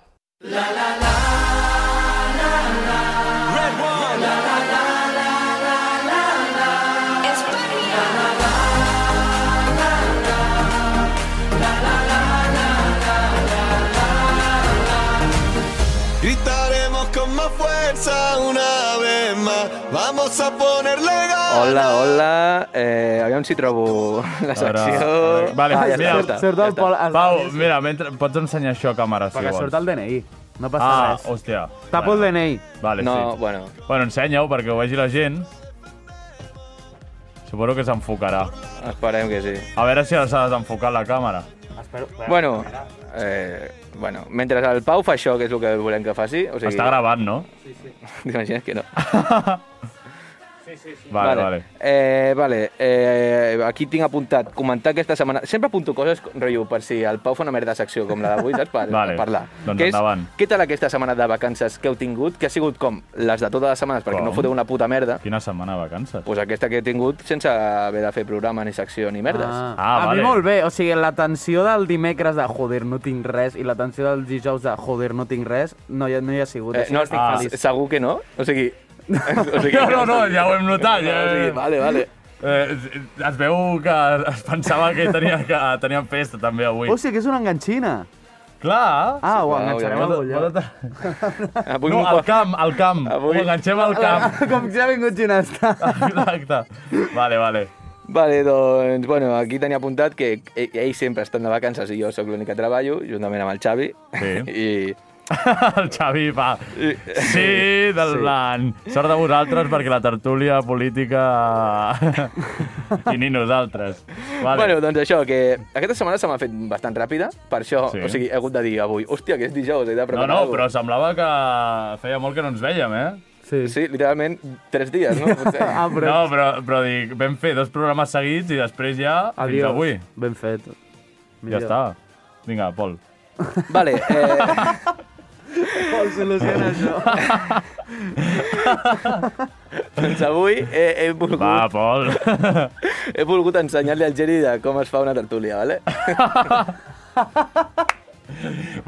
Speaker 15: Gritaremos con más fuerza una vez más. Vamos a ponerle ganas.
Speaker 7: Hola, hola, eh, aviam si trobo la secció.
Speaker 3: Vale,
Speaker 7: ah, ja
Speaker 3: mira,
Speaker 7: està, ja està.
Speaker 3: Pol. Pau, mira, mentre, pots ensenyar això a càmera, si
Speaker 8: Perquè
Speaker 3: vols.
Speaker 8: surt el DNI. No passa
Speaker 3: ah,
Speaker 8: res.
Speaker 3: hòstia.
Speaker 8: Tapo el DNI.
Speaker 3: Vale,
Speaker 8: No,
Speaker 3: sí.
Speaker 7: bueno.
Speaker 3: Bueno, ensenya-ho perquè ho vegi la gent. Suposo que s'enfocarà.
Speaker 7: Esperem que sí.
Speaker 3: A veure si ara s'ha desenfocat la càmera.
Speaker 7: Bueno, eh, bueno, mentre el Pau fa això, que és el que volem que faci... O sigui,
Speaker 3: Està gravant, no?
Speaker 7: T'imagines que no.
Speaker 3: Vale, vale.
Speaker 7: Eh, vale. Eh, aquí tinc apuntat, comentar aquesta setmana... Sempre apunto coses, rotllo, per si el Pau fa una merda de secció com la d'avui, saps? Per,
Speaker 3: Vale.
Speaker 7: per parlar.
Speaker 3: Doncs
Speaker 7: que és,
Speaker 3: endavant.
Speaker 7: Què tal aquesta setmana de vacances que heu tingut? Que ha sigut com les de totes les setmanes, perquè
Speaker 3: Com?
Speaker 7: no foteu una puta merda.
Speaker 3: Quina setmana de vacances?
Speaker 7: Pues aquesta que he tingut sense haver de fer programa, ni secció, ni merdes.
Speaker 8: Ah.
Speaker 3: Ah,
Speaker 8: a mi molt bé, o sigui, la tensió del dimecres de joder, no tinc res, i la tensió del dijous de joder, no tinc res, no hi ha, no hi ha sigut.
Speaker 7: Eh,
Speaker 8: així
Speaker 7: no,
Speaker 8: que estic
Speaker 7: ah,
Speaker 8: feliç.
Speaker 7: segur que no? O sigui... o
Speaker 3: No, no, no, ja ho hem notat, ja.
Speaker 7: O sigui, vale, vale.
Speaker 3: Eh, es veu que es pensava que, tenia, que teníem festa també avui.
Speaker 8: Hòstia, Oh, que és una enganxina.
Speaker 3: Clar.
Speaker 8: Ah, ho enganxarem
Speaker 3: Ho
Speaker 8: al
Speaker 3: de- ho
Speaker 8: bullot.
Speaker 3: de- No, al camp, al camp. Avui... Ho enganxem al camp.
Speaker 8: Com que ja ha vingut Ginesta.
Speaker 3: Exacte. Vale, vale.
Speaker 7: Vale, doncs, bueno, aquí tenia apuntat que e- ells sempre estan de vacances i jo sóc l'únic que treballo, juntament amb el Xavi. Sí. I...
Speaker 3: el Xavi fa... Sí, del sí. blanc. Sort de vosaltres, perquè la tertúlia política... I ni nosaltres.
Speaker 7: Vale.
Speaker 3: Vale.
Speaker 7: Bueno, doncs això, que aquesta setmana se m'ha fet bastant ràpida, per això,
Speaker 3: Sí.
Speaker 7: sí. o sigui, he hagut de dir avui, hòstia, que és dijous, he de
Speaker 3: no,
Speaker 7: preparar
Speaker 3: no,
Speaker 7: alguna
Speaker 3: però semblava que feia molt que no ens vèiem, eh?
Speaker 8: Sí.
Speaker 7: Sí, literalment, tres dies, no? Potser.
Speaker 8: Ah,
Speaker 3: No, però, però dic, vam fer dos programes seguits i després ja fins
Speaker 8: Adiós.
Speaker 3: avui.
Speaker 8: Ben fet.
Speaker 3: Ja
Speaker 8: Millor.
Speaker 3: està. Vinga, Pol.
Speaker 7: Vale, eh...
Speaker 8: Pol, soluciona això.
Speaker 7: doncs avui he, he volgut...
Speaker 3: Va, Pol.
Speaker 7: he volgut ensenyar-li al Geri de com es fa una tertúlia, vale?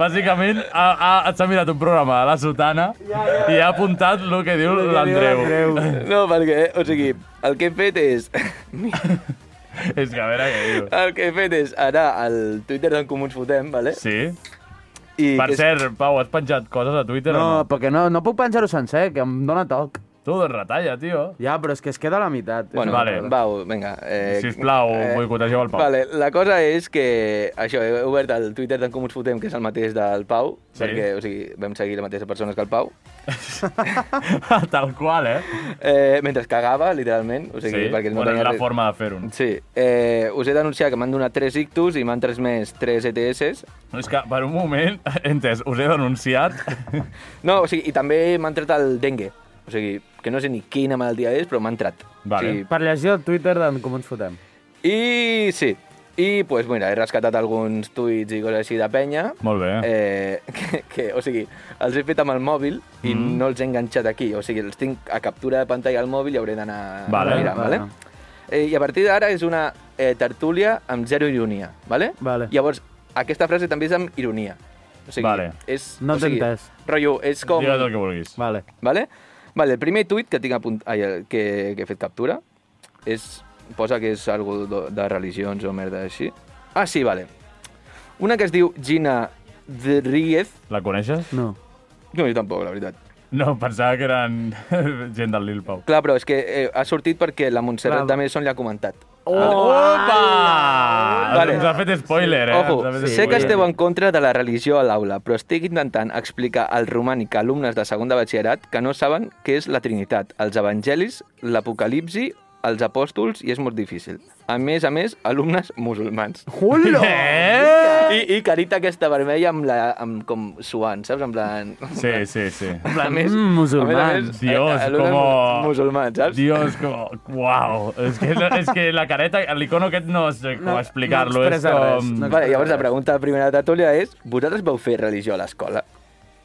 Speaker 3: Bàsicament, ha, ha, s'ha mirat un programa de la sotana i ha apuntat el que diu l'Andreu.
Speaker 7: No, perquè, o sigui, el que he fet és...
Speaker 3: És que a veure què diu.
Speaker 7: El que he fet és anar al Twitter d'en Comuns Fotem, vale?
Speaker 3: Sí.
Speaker 7: I
Speaker 3: per
Speaker 7: que és-
Speaker 3: cert, Pau, has penjat coses a Twitter
Speaker 8: No,
Speaker 3: o no?
Speaker 8: perquè no, no puc penjar-ho sencer, que em dóna toc.
Speaker 3: Tu, doncs retalla, tio.
Speaker 8: Ja, però és que es queda a la meitat.
Speaker 7: Bueno,
Speaker 8: vale.
Speaker 7: vale. Pau, vinga. Eh,
Speaker 3: Sisplau, boicotegeu el Pau.
Speaker 7: Vale, la cosa és que, això, he obert el Twitter d'en Comuns Fotem, que és el mateix del Pau,
Speaker 3: Sí.
Speaker 7: sí. perquè, o sigui, vam seguir les mateixes persones que el Pau.
Speaker 3: Tal qual, eh?
Speaker 7: eh mentre cagava, literalment. O sigui,
Speaker 3: Sí,
Speaker 7: perquè no
Speaker 3: bueno, és
Speaker 7: tenia
Speaker 3: la
Speaker 7: res.
Speaker 3: forma de fer-ho. no?
Speaker 7: Sí. Eh, us he d'anunciar que m'han donat 3 ictus i m'han tres E més 3 ETS.
Speaker 3: No, és que per un moment, he entès, us he denunciat.
Speaker 7: No, o sigui, i també m'han tret el dengue. O sigui, que no sé ni quina malaltia és, però m'ha entrat.
Speaker 8: Vale.
Speaker 7: O sigui,
Speaker 8: Per llegir el Twitter d'en Com ens fotem.
Speaker 7: I sí, i pues, mira, he rescatat alguns tuits i coses així de penya.
Speaker 3: Molt bé.
Speaker 7: Eh, que, que, o sigui, els he fet amb el mòbil i
Speaker 3: Mm.
Speaker 7: no els he enganxat aquí. O sigui, els tinc a captura de pantalla al mòbil i hauré d'anar
Speaker 3: Vale.
Speaker 7: a mirar, vale?
Speaker 3: Vale.
Speaker 7: Eh, I a partir d'ara és una eh, tertúlia amb zero ironia, vale?
Speaker 8: Vale.
Speaker 7: Llavors, aquesta frase també és amb ironia. O sigui,
Speaker 3: Vale.
Speaker 7: és...
Speaker 8: No
Speaker 7: o sigui,
Speaker 8: t'he entès.
Speaker 7: Rotllo, és com...
Speaker 3: Digues el que vulguis.
Speaker 8: Vale.
Speaker 7: Vale? Vale, el primer tuit que tinc apunt... Ai, el que, que he fet captura és... Posa que és algo de, de religions o merda així. Ah, sí, vale. Una que es diu Gina Dríguez.
Speaker 3: La coneixes?
Speaker 8: No.
Speaker 7: No, jo tampoc, la veritat.
Speaker 3: No, pensava que eren gent del Lil Pau.
Speaker 7: Clar, però és que eh, ha sortit perquè la
Speaker 3: Clar.
Speaker 7: Montserrat Clar. D'Amerson li ha comentat.
Speaker 3: Opa! Ah,
Speaker 7: Vale.
Speaker 3: Ens ha fet spoiler, eh?
Speaker 7: Ojo,
Speaker 3: Ens ha fet
Speaker 7: sé que
Speaker 3: spoiler.
Speaker 7: esteu en contra de la religió a l'aula, però estic intentant explicar al romànic a alumnes de segon de batxillerat que no saben què és la Trinitat, els evangelis, l'apocalipsi, els apòstols, i és molt difícil. A més a més, alumnes musulmans.
Speaker 8: Hola!
Speaker 7: Eh? I, I carita aquesta vermella amb, la, amb com suant, saps? En plan...
Speaker 3: Sí, sí, sí.
Speaker 7: A més,
Speaker 8: Mm, musulmans.
Speaker 7: a més, a més,
Speaker 3: Dios,
Speaker 7: eh, alumnes
Speaker 3: como...
Speaker 7: Musulmans, saps?
Speaker 3: Dios, como... Uau! És que, no, és que la careta, l'icono aquest no sé com explicar-lo. és com...
Speaker 7: vale, llavors la pregunta primera de tertúlia és vosaltres vau fer religió a l'escola?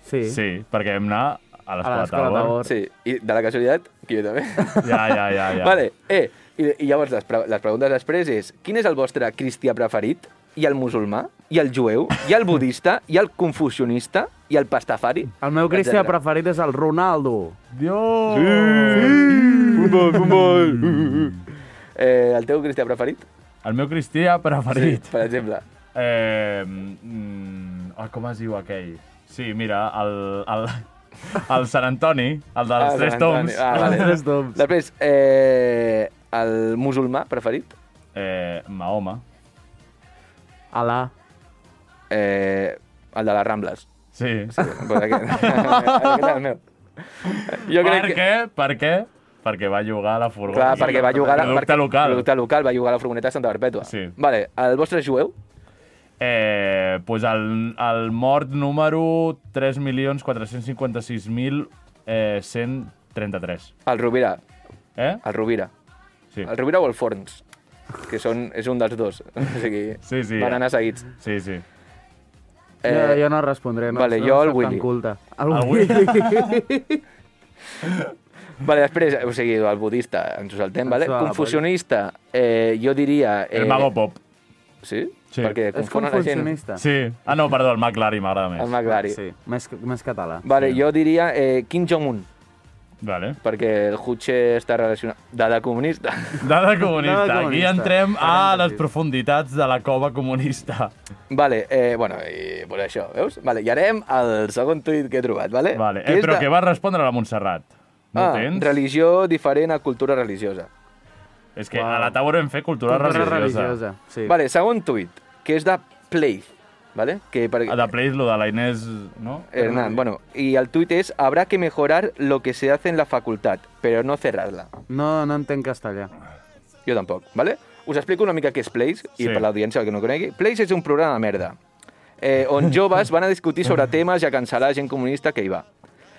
Speaker 8: Sí.
Speaker 3: Sí, perquè hem anat a l'escola Tabor.
Speaker 7: Sí, i de la casualitat, que jo també.
Speaker 3: Ja, ja, ja. Ah, ja.
Speaker 7: Vale, eh, i, i llavors les, pre les preguntes després és quin és el vostre cristià preferit? I el musulmà? I el jueu? I el budista? I el confucionista? I el pastafari?
Speaker 8: El meu cristià preferit és el Ronaldo.
Speaker 3: Dios!
Speaker 7: Futbol, futbol! Eh, el teu cristià preferit?
Speaker 3: El meu cristià preferit.
Speaker 7: Sí, per exemple.
Speaker 3: Eh, mm, oh, com es diu aquell? Sí, mira, el, el, el Sant Antoni, el dels ah,
Speaker 7: Ah,
Speaker 3: Tres
Speaker 7: Sant Antoni.
Speaker 3: Toms.
Speaker 7: Ah, vale. Després, eh, el musulmà preferit?
Speaker 3: Eh, Mahoma.
Speaker 8: Alà.
Speaker 7: Eh, el de les Rambles.
Speaker 3: Sí.
Speaker 7: sí doncs aquest, aquest és el meu. Jo
Speaker 3: per
Speaker 7: crec que-
Speaker 3: què? Per què? Perquè va jugar a la furgoneta.
Speaker 7: Clar, perquè va jugar... a-
Speaker 3: eh? Producte
Speaker 7: perquè-
Speaker 3: local.
Speaker 7: Producte local, va jugar a la furgoneta de Santa Perpètua. Sí. Vale, el vostre jueu?
Speaker 3: Eh, pues el, el mort número 3.456.133.
Speaker 7: El Rovira. Eh? El Rovira. Sí. El Rovira o el Forns, que són, és un dels dos. o sigui,
Speaker 3: Sí, sí.
Speaker 7: van anar seguits.
Speaker 3: Sí, sí.
Speaker 8: Eh, jo, jo no respondré. No,
Speaker 7: vale,
Speaker 8: no
Speaker 7: jo el
Speaker 8: soc tan
Speaker 7: Willy.
Speaker 8: Culte.
Speaker 3: Ah,
Speaker 7: El Willy. Vale, després, o sigui, el budista, ens ho saltem, vale?
Speaker 8: Ens va la
Speaker 7: Confusionista, eh, jo diria... Eh...
Speaker 3: El mago pop.
Speaker 7: Sí? sí. Perquè confonen la gent.
Speaker 3: Sí. Ah, no, perdó, el McLaren m'agrada més.
Speaker 7: El McLaren.
Speaker 3: Sí.
Speaker 8: Més, més català.
Speaker 7: Vale, jo diria eh, Kim Jong-un.
Speaker 3: Vale.
Speaker 7: Perquè el Hutche està relacionat... Dada comunista.
Speaker 3: Dada comunista. Dada comunista. Aquí entrem a les profunditats de la cova comunista.
Speaker 7: Vale, eh, bueno, i per això, veus? Vale, i ara anem al segon tuit que he trobat, vale? Vale,
Speaker 3: Eh, però que va respondre la Montserrat. No
Speaker 7: ah,
Speaker 3: ho tens?
Speaker 7: religió diferent a cultura religiosa.
Speaker 3: És que a la taula hem fet cultura,
Speaker 7: Cultura
Speaker 3: religiosa.
Speaker 7: religiosa, Vale, segon tuit, que és de Play, vale? Que per...
Speaker 3: Ah, De Place, lo de la Inés, no?
Speaker 7: Hernán, bueno, y el tuit és Habrá que mejorar lo que se hace en la facultad, pero no cerrarla.
Speaker 8: No, no entenc castellà.
Speaker 7: Ah, Jo tampoc, vale? Us explico una mica què és Place, i
Speaker 8: Sí.
Speaker 7: per l'audiència que no conegui. Place és un programa de merda, eh, on joves van a discutir sobre temes i a cancel·lar gent comunista que hi va.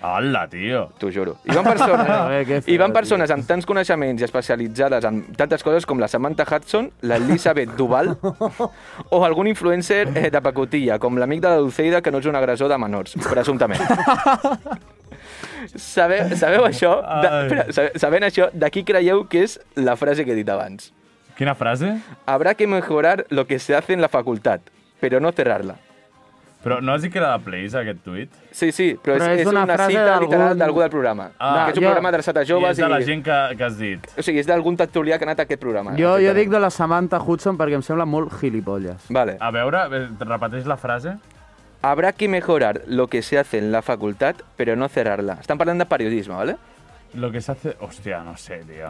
Speaker 3: Hola, tio.
Speaker 7: T'ho juro. I van persones, i van persones amb tants coneixements i especialitzades en tantes coses com la Samantha Hudson, l'Elisabeth Duval o algun influencer eh, de pacotilla, com l'amic de la Dulceida que no és un agressor de menors, presumptament. Sabeu, sabeu això? De, espera, sabe- sabent això, de qui creieu que és la frase que he dit abans?
Speaker 3: Quina frase?
Speaker 7: Habrá que mejorar lo que se hace en la facultad, pero no cerrarla.
Speaker 3: Però no has dit que era de Place, aquest tuit?
Speaker 7: Sí, sí, però, però és, és, una,
Speaker 8: frase
Speaker 7: cita
Speaker 8: d'algun-
Speaker 7: literal d'algú del programa. Ah, que és un programa adreçat a joves.
Speaker 3: I és de la gent que, que has dit.
Speaker 7: O sigui, és d'algun tertulià que ha anat a aquest programa.
Speaker 8: Jo, jo dic de la Samantha Hudson perquè em sembla molt gilipolles.
Speaker 7: Vale.
Speaker 3: A veure, eh, repeteix la frase.
Speaker 7: Habrá que mejorar lo que se hace en la facultad, pero no cerrarla. Estan parlant de periodisme, ¿vale?
Speaker 3: Lo que se hace... Hòstia, no sé, tio.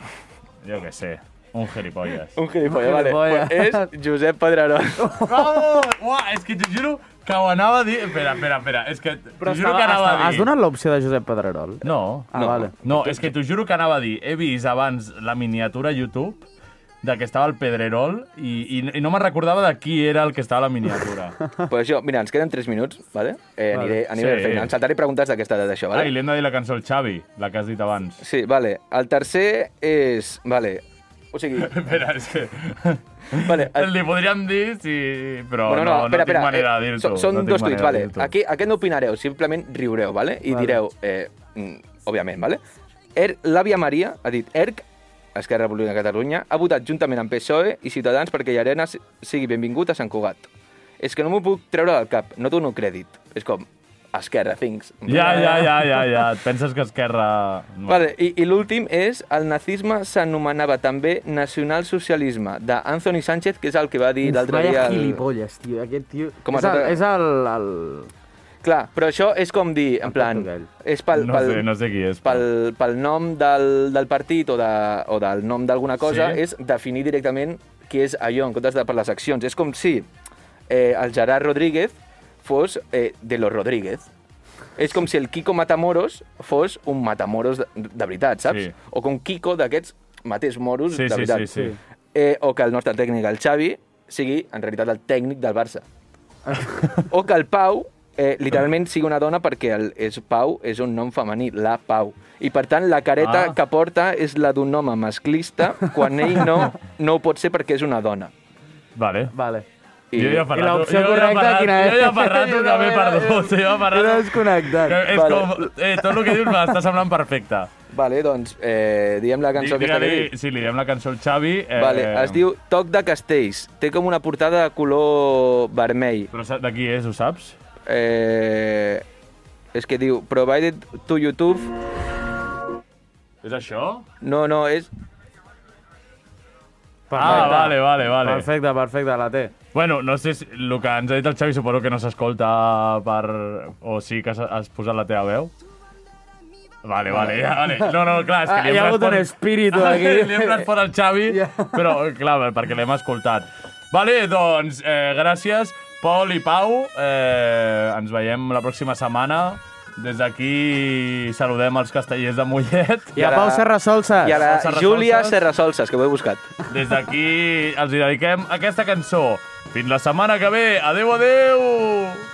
Speaker 3: Jo què sé. Un gilipolles.
Speaker 7: Un gilipolles, vale. Pues és Josep Pedrerol.
Speaker 3: Bravo! Uah, és que t'ho juro que ho anava a dir... Espera, espera, espera. És que t'ho juro que anava a
Speaker 8: has
Speaker 3: dir...
Speaker 8: donat l'opció de Josep Pedrerol?
Speaker 3: No.
Speaker 8: Ah, no. vale.
Speaker 3: No, és que t'ho juro que anava a dir. He vist abans la miniatura a YouTube de que estava el Pedrerol i, i, i no me recordava de qui era el que estava a la miniatura.
Speaker 7: Pues això, mira, ens queden 3 minuts, ¿vale? Eh,
Speaker 3: Vale.
Speaker 7: aniré, aniré
Speaker 3: Sí.
Speaker 7: sí. feina. Em saltaré preguntes d'aquesta edat, això,
Speaker 3: Vale.
Speaker 7: ¿vale?
Speaker 3: Ah, i li hem de dir la cançó al Xavi, la que has dit abans.
Speaker 7: Sí, vale. El tercer és... Vale. O sigui...
Speaker 3: Espera, és que...
Speaker 7: Vale, el...
Speaker 3: Li podríem dir, sí, però
Speaker 7: Bueno,
Speaker 3: no, no,
Speaker 7: espera,
Speaker 3: tinc
Speaker 7: espera,
Speaker 3: manera de
Speaker 7: eh,
Speaker 3: dir-t'ho.
Speaker 7: són- Són
Speaker 3: no tinc
Speaker 7: dos
Speaker 3: manera
Speaker 7: tuits,
Speaker 3: de
Speaker 7: vale.
Speaker 3: dir-t'ho.
Speaker 7: Aquí, aquest no opinareu, simplement riureu, vale? I
Speaker 3: Vale.
Speaker 7: direu, eh, mm, òbviament, vale? Er, L'àvia Maria ha dit, ERC, Esquerra Republicana de Catalunya, ha votat juntament amb PSOE E i Ciutadans perquè Llarena si- sigui benvingut a Sant Cugat. És que no m'ho puc treure del cap, no dono crèdit. És com, Esquerra, things.
Speaker 3: Ja, ja, ja, ja, ja. Et penses que Esquerra...
Speaker 7: Vale, i, i l'últim és el nazisme s'anomenava també nacionalsocialisme d'Anthony Sánchez, que és el que va dir l'altre dia...
Speaker 8: Vaya
Speaker 7: el-
Speaker 8: gilipolles, tio. Aquest tio...
Speaker 7: Com tota-
Speaker 8: és, el,
Speaker 7: nosaltres-
Speaker 8: és el, el...
Speaker 7: Clar, però això és com dir, en plan... És pel,
Speaker 3: No
Speaker 7: pel,
Speaker 3: sé, no sé qui és.
Speaker 7: Pel, pel nom del, del partit o, de, o del nom d'alguna cosa
Speaker 3: Sí.
Speaker 7: sí? és definir directament què és allò, en comptes de per les accions. És com si eh, el Gerard Rodríguez fos eh, de los Rodríguez. És com si el Kiko Matamoros fos un Matamoros de, de veritat, saps? Sí. O com Kiko d'aquests maters moros
Speaker 3: Sí,
Speaker 7: de
Speaker 3: sí,
Speaker 7: veritat.
Speaker 3: sí, sí.
Speaker 7: Eh, o que el nostre tècnic, el Xavi, sigui en realitat el tècnic del Barça. o que el Pau eh, literalment sigui una dona perquè el és Pau és un nom femení, la Pau. I per tant, la careta
Speaker 3: Ah.
Speaker 7: ah. que porta és la d'un home masclista quan ell no, no ho pot ser perquè és una dona.
Speaker 3: Vale.
Speaker 8: Vale.
Speaker 7: I-
Speaker 3: Jo ja fa
Speaker 7: I
Speaker 3: rato-
Speaker 7: l'opció
Speaker 3: jo ja fa
Speaker 7: correcta
Speaker 3: rato-
Speaker 7: quina és?
Speaker 3: Jo ja fa rato que m'he perdut. Jo ja fa rato...
Speaker 7: He desconnectat.
Speaker 3: Que És
Speaker 7: Vale.
Speaker 3: com... Eh, tot el que dius m'està semblant perfecte.
Speaker 7: Vale, doncs, eh, diem la cançó
Speaker 3: Digue-li-
Speaker 7: aquesta que dic.
Speaker 3: Sí, li diem la cançó al Xavi. Eh,
Speaker 7: Vale, es diu Toc de Castells. Té com una portada de color vermell.
Speaker 3: Però sa- de qui és, ho saps?
Speaker 7: Eh, és que diu Provided to YouTube.
Speaker 3: És això?
Speaker 7: No, no, és...
Speaker 3: Ah, vale, vale, vale.
Speaker 8: Perfecte, perfecte, la té.
Speaker 3: Bueno, no sé si el que ens ha dit el Xavi suposo que no s'escolta per... o sí que has, has posat la teva veu. Vale, vale, ja, vale. No, no, clar, és que
Speaker 8: Ah,
Speaker 3: li hem
Speaker 8: hi ha hagut
Speaker 3: respon- Ah,
Speaker 8: un espíritu aquí.
Speaker 3: li hem respon al Xavi, però clar, perquè l'hem escoltat. Vale, doncs, eh, gràcies, Pol i Pau. Eh, ens veiem la pròxima setmana. Des d'aquí saludem els castellers de Mollet.
Speaker 7: I a Pau
Speaker 8: Serrasolses.
Speaker 3: Ah,
Speaker 7: I a la
Speaker 3: Serrasolses.
Speaker 7: Júlia Serrasolses, que ho he buscat.
Speaker 3: Des d'aquí els hi dediquem aquesta cançó. Fins la setmana que ve. Adeu, adeu!